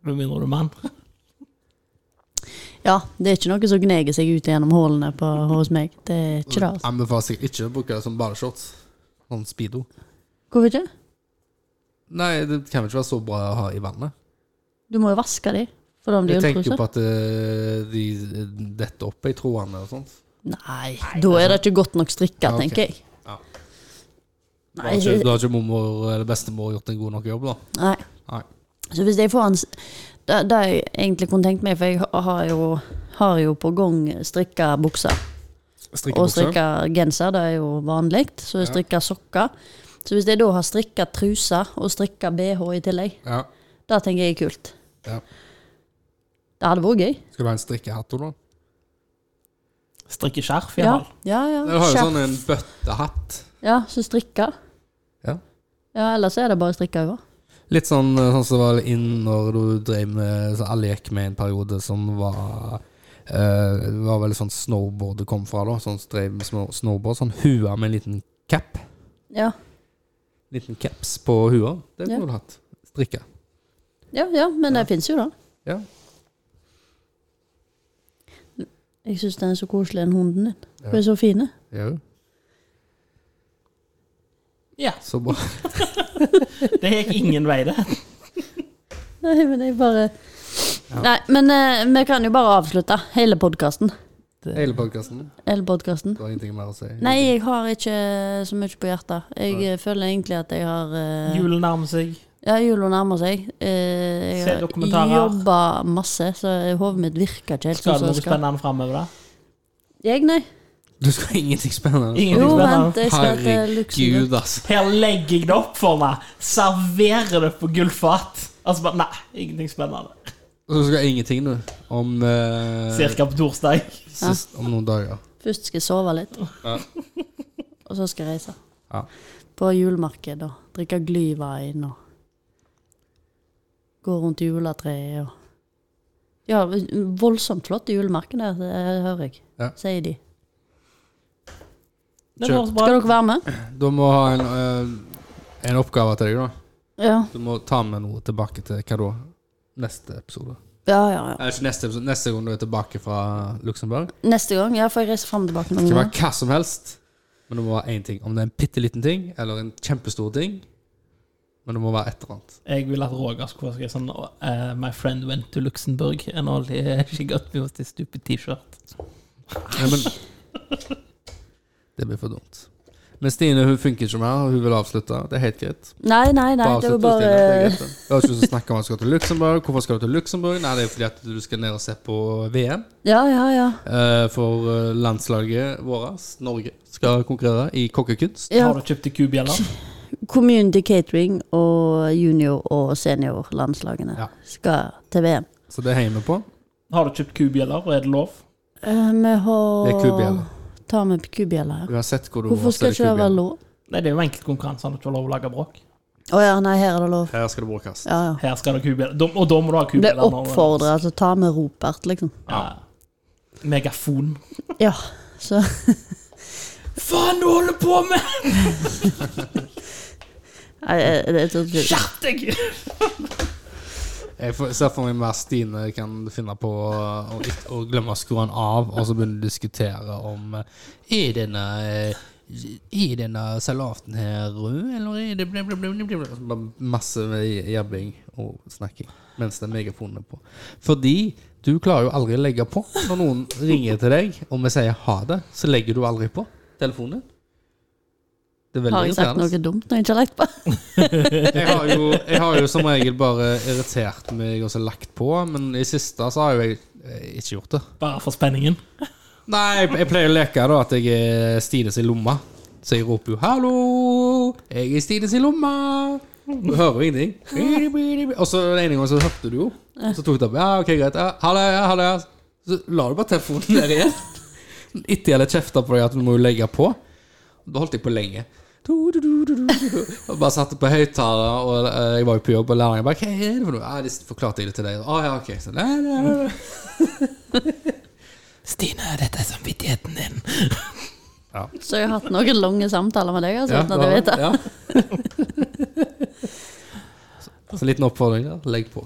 [SPEAKER 3] Med mindre du er mann.
[SPEAKER 1] Ja, det er ikke noe som gneger seg ut gjennom hullene på- hos meg. Det er ikke det. altså.
[SPEAKER 2] Anbefaler seg ikke å bruke det som badeshorts. Sånn speedo.
[SPEAKER 1] Hvorfor ikke?
[SPEAKER 2] Nei, det kan vel ikke være så bra å ha i vannet.
[SPEAKER 1] Du må jo vaske de, for om de
[SPEAKER 2] Jeg
[SPEAKER 1] er
[SPEAKER 2] tenker jo
[SPEAKER 1] ulltruser.
[SPEAKER 2] på at eh, de detter opp i trådene og sånt.
[SPEAKER 1] Nei, da er det ikke godt nok strikka,
[SPEAKER 2] Ja, ok.
[SPEAKER 1] tenker jeg.
[SPEAKER 2] Ja. Da
[SPEAKER 1] Nei,
[SPEAKER 2] har ikke, da har ikke mormor eller bestemor gjort en god nok jobb, da.
[SPEAKER 1] nei.
[SPEAKER 2] Nei.
[SPEAKER 1] Så hvis jeg får en s- Det det har jeg egentlig kunne tenkt meg, for jeg ha- har jo, har jo på gang strikka bukser. Og
[SPEAKER 2] Strikkebukse.
[SPEAKER 1] strikka genser, det er jo vanlig. Så jeg strikka sokker. Så hvis jeg da har strikka truser og strikka BH i tillegg,
[SPEAKER 2] Ja.
[SPEAKER 1] det tenker jeg er kult.
[SPEAKER 2] ja.
[SPEAKER 1] Det hadde vært gøy.
[SPEAKER 2] Skal du ha en strikkehatt òg, da?
[SPEAKER 3] Strikke skjerf,
[SPEAKER 1] Ja,
[SPEAKER 3] iallfall.
[SPEAKER 1] ja. ja.
[SPEAKER 2] Du har jo
[SPEAKER 1] Skjerf.
[SPEAKER 2] sånn en bøttehatt.
[SPEAKER 1] ja så strikka.
[SPEAKER 2] Ja.
[SPEAKER 1] Ja, ellers er det bare strikka over.
[SPEAKER 2] Litt sånn, eh, sånn som var inn når du drev med Så alle gikk med en periode som var eh, Det var vel sånn snowboard det kom fra, da. Sånn som drev med små- snowboard. Sånn hua med en liten cap.
[SPEAKER 1] Ja.
[SPEAKER 2] Liten caps på hua. Det kunne
[SPEAKER 1] Ja.
[SPEAKER 2] du hatt. Strikka.
[SPEAKER 1] ja, ja, men det fins jo, da.
[SPEAKER 2] Ja.
[SPEAKER 1] Jeg syns den er så koselig, den hunden din. Hun er så fin.
[SPEAKER 2] ja.
[SPEAKER 3] Ja.
[SPEAKER 2] Så bra.
[SPEAKER 3] Det gikk ingen vei,
[SPEAKER 1] [LAUGHS]
[SPEAKER 3] det.
[SPEAKER 1] [LAUGHS] Nei, men jeg bare Nei, men eh, vi kan jo bare avslutte hele podkasten.
[SPEAKER 2] Hele podkasten.
[SPEAKER 1] Hele podkasten.
[SPEAKER 2] Det var ingenting mer å si.
[SPEAKER 1] Nei, jeg har ikke så mye på hjertet. Jeg eh, føler egentlig at jeg har eh,
[SPEAKER 3] Julen nærmer seg.
[SPEAKER 1] Ja, jula nærmer seg. Eh,
[SPEAKER 3] Se
[SPEAKER 1] Jeg har
[SPEAKER 3] dokumentarer.
[SPEAKER 1] jobba masse, så hodet mitt virker ikke helt
[SPEAKER 3] Skal
[SPEAKER 1] sånn
[SPEAKER 3] du
[SPEAKER 1] som
[SPEAKER 3] noe
[SPEAKER 1] det skal.
[SPEAKER 3] spennende framover, da?
[SPEAKER 1] Jeg, nei.
[SPEAKER 2] Du skal ha ingenting spennende.
[SPEAKER 1] Jo,
[SPEAKER 3] Ingenting
[SPEAKER 1] vent,
[SPEAKER 3] spennende?
[SPEAKER 1] jeg skal til Luxembourg.
[SPEAKER 2] Herregud, altså.
[SPEAKER 3] Her legger jeg det opp for meg! Serverer det på gullfat! Altså bare Nei, ingenting spennende.
[SPEAKER 2] Du skal ha ingenting, du. Om, eh,
[SPEAKER 3] Cirka på torsdag.
[SPEAKER 2] sist, om noen dager.
[SPEAKER 1] Først skal jeg sove litt,
[SPEAKER 2] Ja.
[SPEAKER 1] [LAUGHS] og så skal jeg reise.
[SPEAKER 2] Ja.
[SPEAKER 1] På julemarked og drikke glyvein og gå rundt juletreet og Ja, voldsomt flotte julemarked der, det hører jeg,
[SPEAKER 2] Ja.
[SPEAKER 1] sier de.
[SPEAKER 3] Det
[SPEAKER 2] Kjøpt.
[SPEAKER 3] høres bra
[SPEAKER 1] Skal
[SPEAKER 3] ut.
[SPEAKER 1] dere være med?
[SPEAKER 2] Da må jeg ha en, eh, en oppgave til deg, da.
[SPEAKER 1] Ja.
[SPEAKER 2] Du må ta med noe tilbake til hva da? Neste episode.
[SPEAKER 1] Ja, ja, ja.
[SPEAKER 2] Eller ikke neste episode, neste gang du er tilbake fra Luxembourg.
[SPEAKER 1] Neste gang? Ja, for jeg reiser fram og tilbake
[SPEAKER 2] Det
[SPEAKER 1] noen
[SPEAKER 2] kan være
[SPEAKER 1] ganger.
[SPEAKER 2] hva som helst, men det må være én ting. Om det er en bitte liten ting, eller en kjempestor ting. Men det må være et eller annet.
[SPEAKER 3] Jeg vil at Roger skulle være sånn eh, My friend went to Luxembourg and all eh, [LAUGHS] she got me was this stupid T-shirt.
[SPEAKER 2] Nei, men [LAUGHS] Det blir for dumt. Men Stine hun funker ikke mer, og hun vil avslutte. Det er helt greit.
[SPEAKER 1] Nei, nei, nei,
[SPEAKER 2] Bare
[SPEAKER 1] det var
[SPEAKER 2] avslutte,
[SPEAKER 1] bare
[SPEAKER 2] Stine. Det er greit, det. Vi har ikke lyst til å snakke om at du skal til Luxembourg. Hvorfor skal du til Luxembourg? Nei, det er fordi at du skal ned og se på VM.
[SPEAKER 1] Ja, ja, ja.
[SPEAKER 2] eh, For eh, landslaget vårt, Norge, skal konkurrere i kokkekunst.
[SPEAKER 1] ja.
[SPEAKER 3] Har du kjøpt i kubjeller?
[SPEAKER 1] Community Catering og junior- og seniorlandslagene
[SPEAKER 2] Ja.
[SPEAKER 1] skal til VM.
[SPEAKER 2] Så det heier vi på.
[SPEAKER 3] Har du kjøpt kubjeller, og er det lov?
[SPEAKER 1] Eh, vi har
[SPEAKER 2] Det er kubjeller.
[SPEAKER 1] Tar med kubjeller, ja.
[SPEAKER 2] Uansett hvor du
[SPEAKER 1] Hvorfor skal ikke det være lov?
[SPEAKER 3] Nei, det er jo enkeltkonkurranse, han har ikke lov å lage bråk.
[SPEAKER 1] Å ja, nei, her er det lov.
[SPEAKER 2] Her skal det brukes.
[SPEAKER 1] Ja, ja.
[SPEAKER 3] Her skal det kubjeller, Da- og da må du ha
[SPEAKER 1] Ble
[SPEAKER 3] kubjeller. når-
[SPEAKER 1] oppfordra til å ta med ropert, liksom.
[SPEAKER 3] Ja. Megafon.
[SPEAKER 1] Ja, så
[SPEAKER 3] Faen, du holder på med!
[SPEAKER 1] Nei, jeg- sånn- jeg- jeg tror ikke-
[SPEAKER 3] Skjerp deg!
[SPEAKER 2] Jeg får- ser for meg mer Stine kan finne på å, å- å glemme å skru den av, og så begynne å diskutere om eh, Er denne eh, er denne salaten her rød, eller er det bla, bla, bla, bla, bla, bla? Så bare Masse med jabbing og snakking mens den megafonen er på. Fordi du klarer jo aldri å legge på. Når noen ringer til deg og vi sier ha det, så legger du aldri på telefonen. din. Det er veldig
[SPEAKER 1] Har jeg sagt
[SPEAKER 2] irriterende.
[SPEAKER 1] noe dumt når jeg ikke har lagt på?
[SPEAKER 2] Jeg har, jo, jeg har jo som regel bare irritert meg og så lagt på, men i siste så har jo jeg eh, ikke gjort det.
[SPEAKER 3] Bare for spenningen.
[SPEAKER 2] Nei, jeg, jeg pleier å leke da at jeg er Stines i lomma. Så jeg roper jo 'hallo, jeg er Stines i lomma'. Du hører jo ingenting. Bidi, bidi, bidi. Og så den ene gangen så hørte du jo. Så tok du opp. Ja, ok, greit. Ja, ha det, ja, ha det. ja. Så la du bare telefonen der igjen. Etter jeg hadde kjefta på deg at du må jo legge på. Da holdt jeg på lenge. Du, du, du, du, du, du. Og bare satte på høyttaler, og eh, jeg var jo på jobb, og læreren bare 'Hva er det for noe?' Ja, det forklarte jeg det til deg. Å ja, ok. Så, nei, nei, nei, nei.
[SPEAKER 3] Stine, dette er samvittigheten din.
[SPEAKER 1] Så jeg har hatt noen lange samtaler med deg, altså, uten at jeg
[SPEAKER 2] det var
[SPEAKER 1] vet det.
[SPEAKER 2] det, ja. [LAUGHS] så, så en liten oppfordring der. Legg på.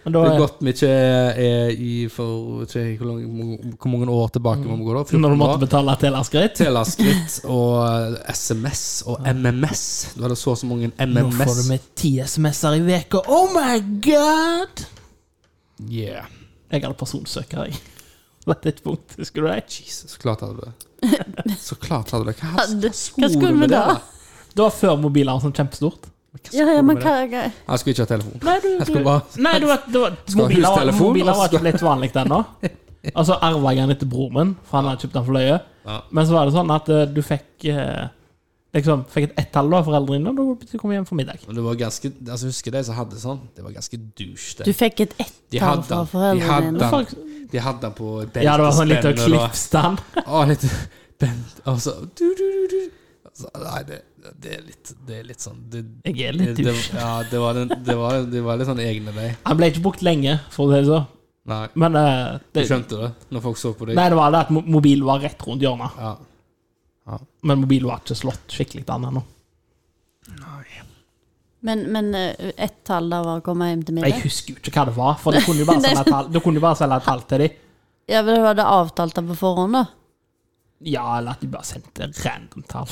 [SPEAKER 3] Men da
[SPEAKER 2] Det er
[SPEAKER 3] er,
[SPEAKER 2] godt vi ikke er i for ikke, hvor, lang- hvor mange år tilbake må vi gå da?
[SPEAKER 3] når du måtte
[SPEAKER 2] 14 år.
[SPEAKER 3] betale til Asgreit
[SPEAKER 2] Teleskritt og eh, SMS og MMS. Du hadde så og så mange MMS.
[SPEAKER 3] med ti SMS-er i veka Oh my god!
[SPEAKER 2] Yeah.
[SPEAKER 3] Jeg hadde personsøker, jeg. [LAUGHS] På et tidspunkt, husker du det?
[SPEAKER 2] Jesus, så klart hadde du det. Så klart hadde du det. Hva,
[SPEAKER 1] Hadde-
[SPEAKER 2] hva skulle
[SPEAKER 1] skulle
[SPEAKER 2] du
[SPEAKER 1] vi
[SPEAKER 2] med det?
[SPEAKER 1] da?
[SPEAKER 2] da?
[SPEAKER 3] Det var før mobiler var sånn kjempestort.
[SPEAKER 1] Ja, ja, men hva hva-
[SPEAKER 2] Jeg skulle ikke ha telefon.
[SPEAKER 3] Nei, du,
[SPEAKER 2] Jeg skulle bare
[SPEAKER 3] Nei, det var, det var,
[SPEAKER 2] ha
[SPEAKER 3] mobiler, var-
[SPEAKER 2] hustelefon,
[SPEAKER 3] mobiler
[SPEAKER 2] og
[SPEAKER 3] var ikke
[SPEAKER 2] skal-
[SPEAKER 3] blitt vanlig ennå. Og så arva jeg den etter broren min, for han hadde kjøpt den for løye.
[SPEAKER 2] Ja.
[SPEAKER 3] Men så var det sånn at eh, du fikk eh, Liksom, fikk et ett-tall av foreldrene, og da kom jeg hjem for middag.
[SPEAKER 2] Men det var ganske Altså, husker de som hadde sånn? Det var ganske douche, det.
[SPEAKER 1] Du fikk et
[SPEAKER 2] De
[SPEAKER 1] ett-tall
[SPEAKER 2] hadde
[SPEAKER 1] fra
[SPEAKER 2] den. De hadde
[SPEAKER 1] foreldrene dine.
[SPEAKER 2] den.
[SPEAKER 3] Folk-
[SPEAKER 2] De hadde den på beltespennene.
[SPEAKER 3] Ja, det var sånn liten
[SPEAKER 2] da.
[SPEAKER 3] klippstand.
[SPEAKER 2] Å, litt bent Og så du, du, du, du. Altså, Nei, det, det, er litt, det er litt sånn det,
[SPEAKER 3] [LAUGHS] Jeg er
[SPEAKER 2] det,
[SPEAKER 3] litt
[SPEAKER 2] det,
[SPEAKER 3] dusj.
[SPEAKER 2] Ja, det var, den, det, var, det var litt sånn egne deg.
[SPEAKER 3] Han ble ikke brukt lenge, for å si det sånn.
[SPEAKER 2] Nei,
[SPEAKER 3] Men eh,
[SPEAKER 2] du
[SPEAKER 3] det,
[SPEAKER 2] skjønte det når folk så på deg?
[SPEAKER 3] nei, det var det at mo- mobil var rett rundt hjørnet.
[SPEAKER 2] Ja.
[SPEAKER 3] Men mobil var ikke slått skikkelig an ennå.
[SPEAKER 1] Men, men eh, ett tall da var å komme hjem til
[SPEAKER 3] Jeg
[SPEAKER 1] middag?
[SPEAKER 3] husker jo ikke hva det var, for det kunne jo
[SPEAKER 2] [LAUGHS]
[SPEAKER 3] bare selge et tall, det kunne jo bare selge et tall til dem.
[SPEAKER 1] Ja, men det var det avtalt da på forhånd, da?
[SPEAKER 3] Ja, eller at de bare sendte random tall.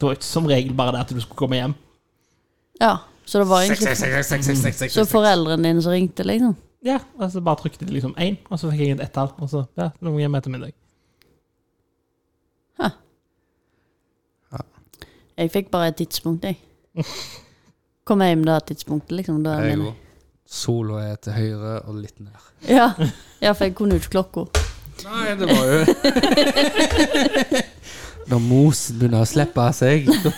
[SPEAKER 3] Det var ikke som regel bare det at du skulle komme hjem.
[SPEAKER 1] Ja, så det var egentlig Så foreldrene dine som ringte, liksom?
[SPEAKER 3] Ja, og så bare trykte de liksom én, og så fikk jeg et ett-tall, og så ja, nå må jeg hjem etter middag. [LAUGHS]
[SPEAKER 1] Jeg fikk bare et tidspunkt, jeg. kom jeg hjem det tidspunktet, liksom. Da,
[SPEAKER 2] Jeg
[SPEAKER 1] mener
[SPEAKER 2] òg. Sola er til høyre og litt ned.
[SPEAKER 1] jeg. Ja. ja, for jeg kunne jo ikke klokka.
[SPEAKER 2] Nei, det var jo [LAUGHS] Når mosen begynner å slippe seg, [LAUGHS] da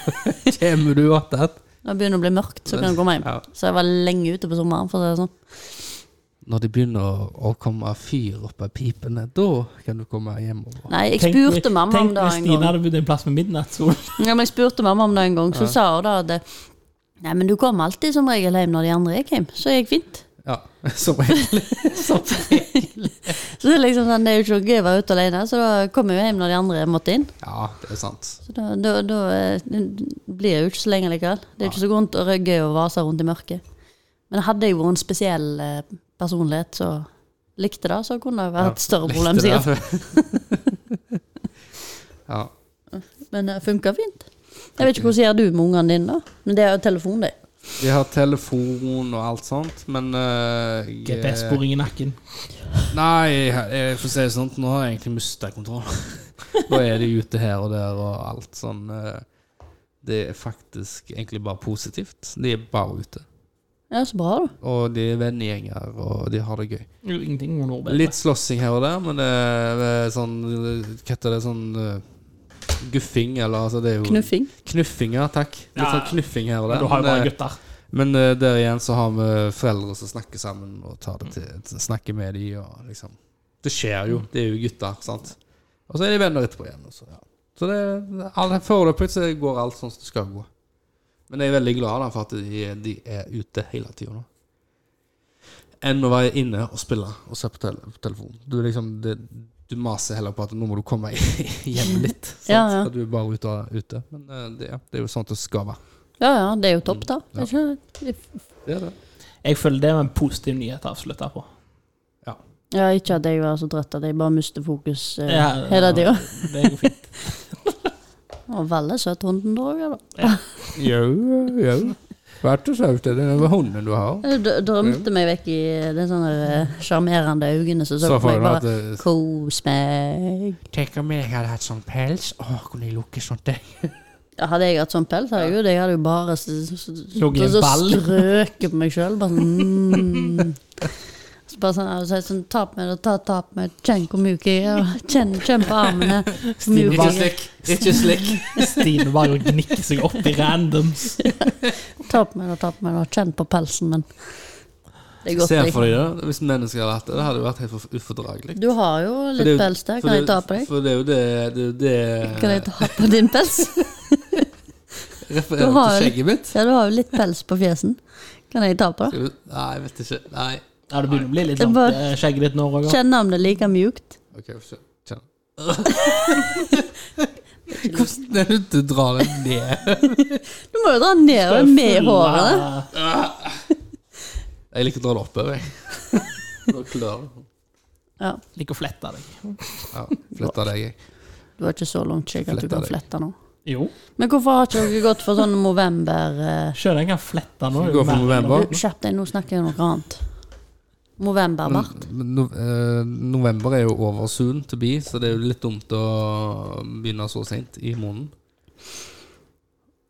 [SPEAKER 2] kommer du opp igjen.
[SPEAKER 1] Når det begynner å bli mørkt, så kan jeg komme hjem.
[SPEAKER 2] Ja.
[SPEAKER 1] Så jeg var lenge ute på sommeren, for å si det sånn.
[SPEAKER 2] Når det begynner å, å komme fyr opp av pipene, da kan du komme hjemover.
[SPEAKER 1] Nei, jeg
[SPEAKER 3] Tenk-
[SPEAKER 1] spurte mamma om det en
[SPEAKER 3] Tenk hvis Stine
[SPEAKER 1] gang.
[SPEAKER 3] hadde bodd en plass med midnattssol.
[SPEAKER 1] Ja, men jeg spurte mamma om det en gang, så sa hun da at det- Nei, men du kommer alltid som regel hjem når de andre gikk hjem, så jeg gikk fint.
[SPEAKER 2] Ja, [LAUGHS] som regel.
[SPEAKER 1] Så det er liksom sånn, det er jo ikke noe gøy å være ute alene, så da kom jeg jo hjem når de andre måtte inn.
[SPEAKER 2] Ja, det er sant.
[SPEAKER 1] Så da, da, da eh, blir jeg jo ikke så lenge likevel. Det er jo ikke så vondt og gøy å vase rundt i mørket. Men hadde jeg vært en spesiell eh, personlighet, så likte det, så kunne det vært et større problem, sikkert.
[SPEAKER 2] [LAUGHS] ja.
[SPEAKER 1] Men det funka fint. Jeg vet ikke hvordan gjør du med ungene dine, da? Men det er jo telefon, det.
[SPEAKER 2] Vi har telefon og alt sånt, men eh, jeg-
[SPEAKER 3] GPS-sporing i nakken.
[SPEAKER 2] Nei, jeg- jeg får si det sånn, nå har jeg egentlig mistet kontroll. [LAUGHS] Nå er de ute her og der og alt sånn. eh, Det er faktisk egentlig bare positivt. De er bare ute.
[SPEAKER 1] Ja, så bra, da.
[SPEAKER 2] Og de er vennegjenger, og de har det gøy.
[SPEAKER 3] Jo, Ingenting må noe bedre.
[SPEAKER 2] Litt slåssing her og der, men det er det er sånn Hva heter det? Sånn eh, guffing, eller altså det er jo
[SPEAKER 1] Knuffing.
[SPEAKER 2] Knuffing, ja, takk. Litt
[SPEAKER 3] Ja.
[SPEAKER 2] sånn knuffing her og der.
[SPEAKER 3] Men du har jo
[SPEAKER 2] men,
[SPEAKER 3] bare
[SPEAKER 2] eh,
[SPEAKER 3] gutter.
[SPEAKER 2] men eh, der igjen så har vi foreldre som snakker sammen og tar det til, snakker med de og liksom Det skjer jo. Det er jo gutter, sant. Og så er de venner etterpå igjen. Og så ja. så det, alle, foreløpig så går alt sånn som det skal gå. Men jeg er veldig glad da, for at de, de er ute hele tida nå. Enn å være inne og spille og se på, tele, på telefonen. Du, liksom, det, du maser heller på at nå må du komme [LAUGHS] hjem litt. Sant?
[SPEAKER 1] Ja, ja.
[SPEAKER 2] At du er bare ute. ute. Men eh, det, ja, det er jo sånn det skal være.
[SPEAKER 1] Ja ja, det er jo topp, da.
[SPEAKER 2] Ja.
[SPEAKER 1] Det er ikke,
[SPEAKER 2] Det er det.
[SPEAKER 3] Jeg føler det var en positiv nyhet å avslutte på.
[SPEAKER 1] ja, ikke at jeg var så trøtt at jeg bare mister fokus eh,
[SPEAKER 3] Ja,
[SPEAKER 1] hele tida.
[SPEAKER 3] Det går fint.
[SPEAKER 1] Og veldig søt hunden da òg, da.
[SPEAKER 2] Jo, jo. Vær så snill, det er den hunden du har.
[SPEAKER 1] Jeg d- drømte meg vekk i de sånne eh, sjarmerende øynene som så,
[SPEAKER 2] Så
[SPEAKER 1] på
[SPEAKER 2] får
[SPEAKER 1] meg.
[SPEAKER 2] du at
[SPEAKER 1] Bare
[SPEAKER 2] det-
[SPEAKER 1] kos meg.
[SPEAKER 2] Tenk om jeg hadde hatt sånn pels. Å, kunne jeg lukke sånt der?
[SPEAKER 1] Ja, Hadde jeg hatt sånn pels, herregud, jeg hadde jo bare s- s- s-
[SPEAKER 3] Ligget i en
[SPEAKER 1] så
[SPEAKER 3] ball.
[SPEAKER 1] strøket på meg sjøl. Bare sånn mm. Så bare sånn, altså, sånn Ta på meg det, ta, ta på meg, kjenn hvor mjuk jeg er, og kjenn, kjenn på armene. hvor mjuk
[SPEAKER 3] Ikke
[SPEAKER 1] jeg er.
[SPEAKER 2] Ikke slik.
[SPEAKER 3] Stine bare gnikker seg opp i randoms.
[SPEAKER 1] Ta på meg det, ta på meg det, kjenn på pelsen min. Det er godt.
[SPEAKER 2] Se for
[SPEAKER 1] Jeg.
[SPEAKER 2] deg det, hvis mennesker hadde hatt det. Det hadde jo vært helt for- ufordragelig.
[SPEAKER 1] Du har jo
[SPEAKER 2] For det er
[SPEAKER 1] litt
[SPEAKER 2] jo-
[SPEAKER 1] pels der,
[SPEAKER 2] for
[SPEAKER 1] kan jeg
[SPEAKER 2] det-
[SPEAKER 1] ta på deg?
[SPEAKER 2] For det er jo det det, det
[SPEAKER 1] Kan jeg ta på din pels? Du
[SPEAKER 2] [LAUGHS] refererer
[SPEAKER 1] har
[SPEAKER 2] til
[SPEAKER 1] jo-
[SPEAKER 2] skjegget mitt.
[SPEAKER 1] Ja, du har jo litt pels på fjesen. Kan jeg ta på det?
[SPEAKER 2] Skal du- Nei, jeg vet ikke. Nei.
[SPEAKER 3] Ja, det begynner å bli litt
[SPEAKER 1] Det er
[SPEAKER 3] langt
[SPEAKER 1] bare-
[SPEAKER 3] eh, skjegget ditt nå, Roger.
[SPEAKER 1] Kjenne om det er like mjukt.
[SPEAKER 2] Ok, jeg får se. Kjenn. Hvordan er det du drar den ned?
[SPEAKER 1] Du må jo dra nedover med håret.
[SPEAKER 3] håret.
[SPEAKER 2] Jeg liker å dra det oppover, jeg. Nå klør det.
[SPEAKER 1] Ja,
[SPEAKER 3] Liker å flette deg.
[SPEAKER 2] Ja, flytter deg, jeg.
[SPEAKER 1] Du har ikke så langt skjegg at du
[SPEAKER 2] Fletta
[SPEAKER 1] kan
[SPEAKER 2] deg.
[SPEAKER 1] flette nå.
[SPEAKER 3] Jo.
[SPEAKER 1] Men hvorfor har ikke dere gått for sånn november eh,
[SPEAKER 3] Skjønner jeg kan flette nå.
[SPEAKER 2] Skal vi gå for november?
[SPEAKER 1] du, Skjerp deg, nå snakker jeg om noe annet. Novemberbart.
[SPEAKER 2] Men no, eh, november er jo over soon to be, så det er jo litt dumt å begynne så seint i måneden.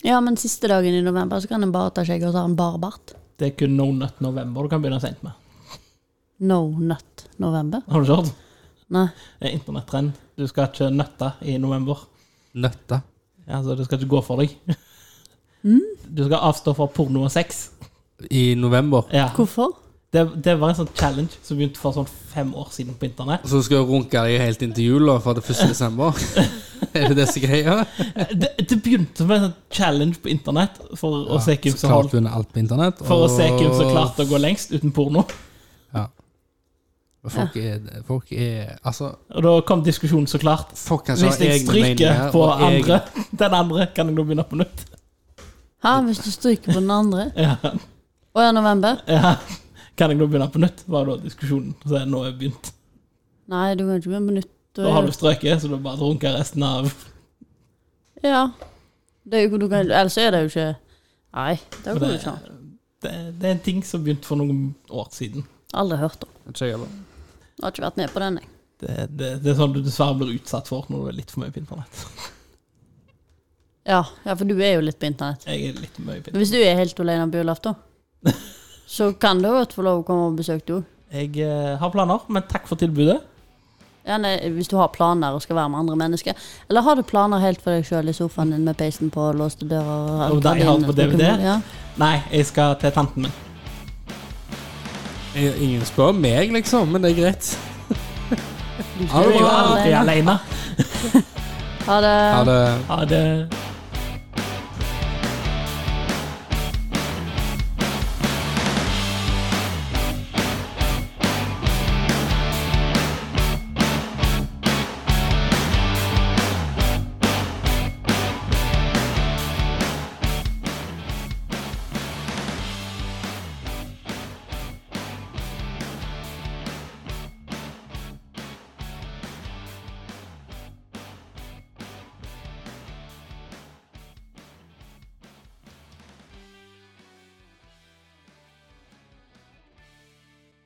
[SPEAKER 1] Ja, men siste dagen i november så kan en bare ta skjegg og så har en bare bart.
[SPEAKER 3] Det er kun No Nut November du kan begynne sent med.
[SPEAKER 1] No nut november.
[SPEAKER 3] Har du ikke hørt?
[SPEAKER 1] Nei.
[SPEAKER 3] Det er internettrend. Du skal ikke nøtte i november.
[SPEAKER 2] Nøtta.
[SPEAKER 3] Ja, Altså, det skal ikke gå for deg. Du skal avstå fra porno og sex.
[SPEAKER 2] I november.
[SPEAKER 3] Ja.
[SPEAKER 1] Hvorfor?
[SPEAKER 3] Det, det var en sånn challenge som begynte for sånn fem år siden på internett.
[SPEAKER 2] Så skal jeg runke deg helt inn til jul, da, fra det 1. desember? er det det som er greia?
[SPEAKER 3] [LAUGHS] Det, det begynte med en sånn challenge på internett for å se hvem
[SPEAKER 2] Så
[SPEAKER 3] som holdt
[SPEAKER 2] klarte hun alt på internett.
[SPEAKER 3] For å se hvem som
[SPEAKER 2] og-
[SPEAKER 3] klarte å gå lengst uten porno.
[SPEAKER 2] Ja. Men Folk er, folk er Altså,
[SPEAKER 3] Og da kom diskusjonen, så klart.
[SPEAKER 2] folk kan ikke
[SPEAKER 3] Hvis
[SPEAKER 2] ha
[SPEAKER 3] jeg
[SPEAKER 2] egne
[SPEAKER 3] stryker
[SPEAKER 2] meninger,
[SPEAKER 3] på
[SPEAKER 2] og egne-
[SPEAKER 3] andre, [LAUGHS] den andre, kan jeg nå begynne på nytt.
[SPEAKER 1] Hæ, hvis du stryker på den andre?
[SPEAKER 3] Ja,
[SPEAKER 1] Å ja, november?
[SPEAKER 3] ja. Kan jeg nå begynne på nytt, var da diskusjonen. Så nå er jeg begynt.
[SPEAKER 1] Nei, du kan ikke begynne på nytt. Da
[SPEAKER 3] Da
[SPEAKER 1] er
[SPEAKER 3] har
[SPEAKER 1] det-
[SPEAKER 3] du strøket, så du bare drunker resten av
[SPEAKER 1] Ja. Det er jo, du kan, ellers er det jo ikke Nei, det
[SPEAKER 3] For
[SPEAKER 1] går jo
[SPEAKER 3] det,
[SPEAKER 1] ikke an.
[SPEAKER 3] det, det er en ting som begynte for noen år siden.
[SPEAKER 1] Aldri hørt om.
[SPEAKER 2] Ikke jeg heller.
[SPEAKER 1] Jeg har ikke vært med på den, jeg.
[SPEAKER 3] Det, det, det er sånn du dessverre blir utsatt for når du er litt for mye på internett.
[SPEAKER 1] Ja, ja, for du er jo litt på internett.
[SPEAKER 3] [LAUGHS] Jeg er litt mye
[SPEAKER 1] Men hvis du er helt alene på julaften, så kan du godt få lov å komme og besøke du òg.
[SPEAKER 3] Jeg eh, har planer, men takk for tilbudet.
[SPEAKER 1] Ja, nei, hvis du har planer og skal være med andre mennesker. Eller har du planer helt for deg sjøl i sofaen din med peisen på, låste dører
[SPEAKER 3] Og den jeg har på DVD?
[SPEAKER 1] Ja.
[SPEAKER 3] Nei, jeg skal til tanten min.
[SPEAKER 2] Ingen spør meg, liksom, men det er greit.
[SPEAKER 1] Du
[SPEAKER 2] Ha
[SPEAKER 1] skal
[SPEAKER 2] det
[SPEAKER 1] jo
[SPEAKER 2] bra.
[SPEAKER 1] aldri-
[SPEAKER 3] Jeg er alene.
[SPEAKER 1] Ha det.
[SPEAKER 2] Ha det.
[SPEAKER 3] Ha det.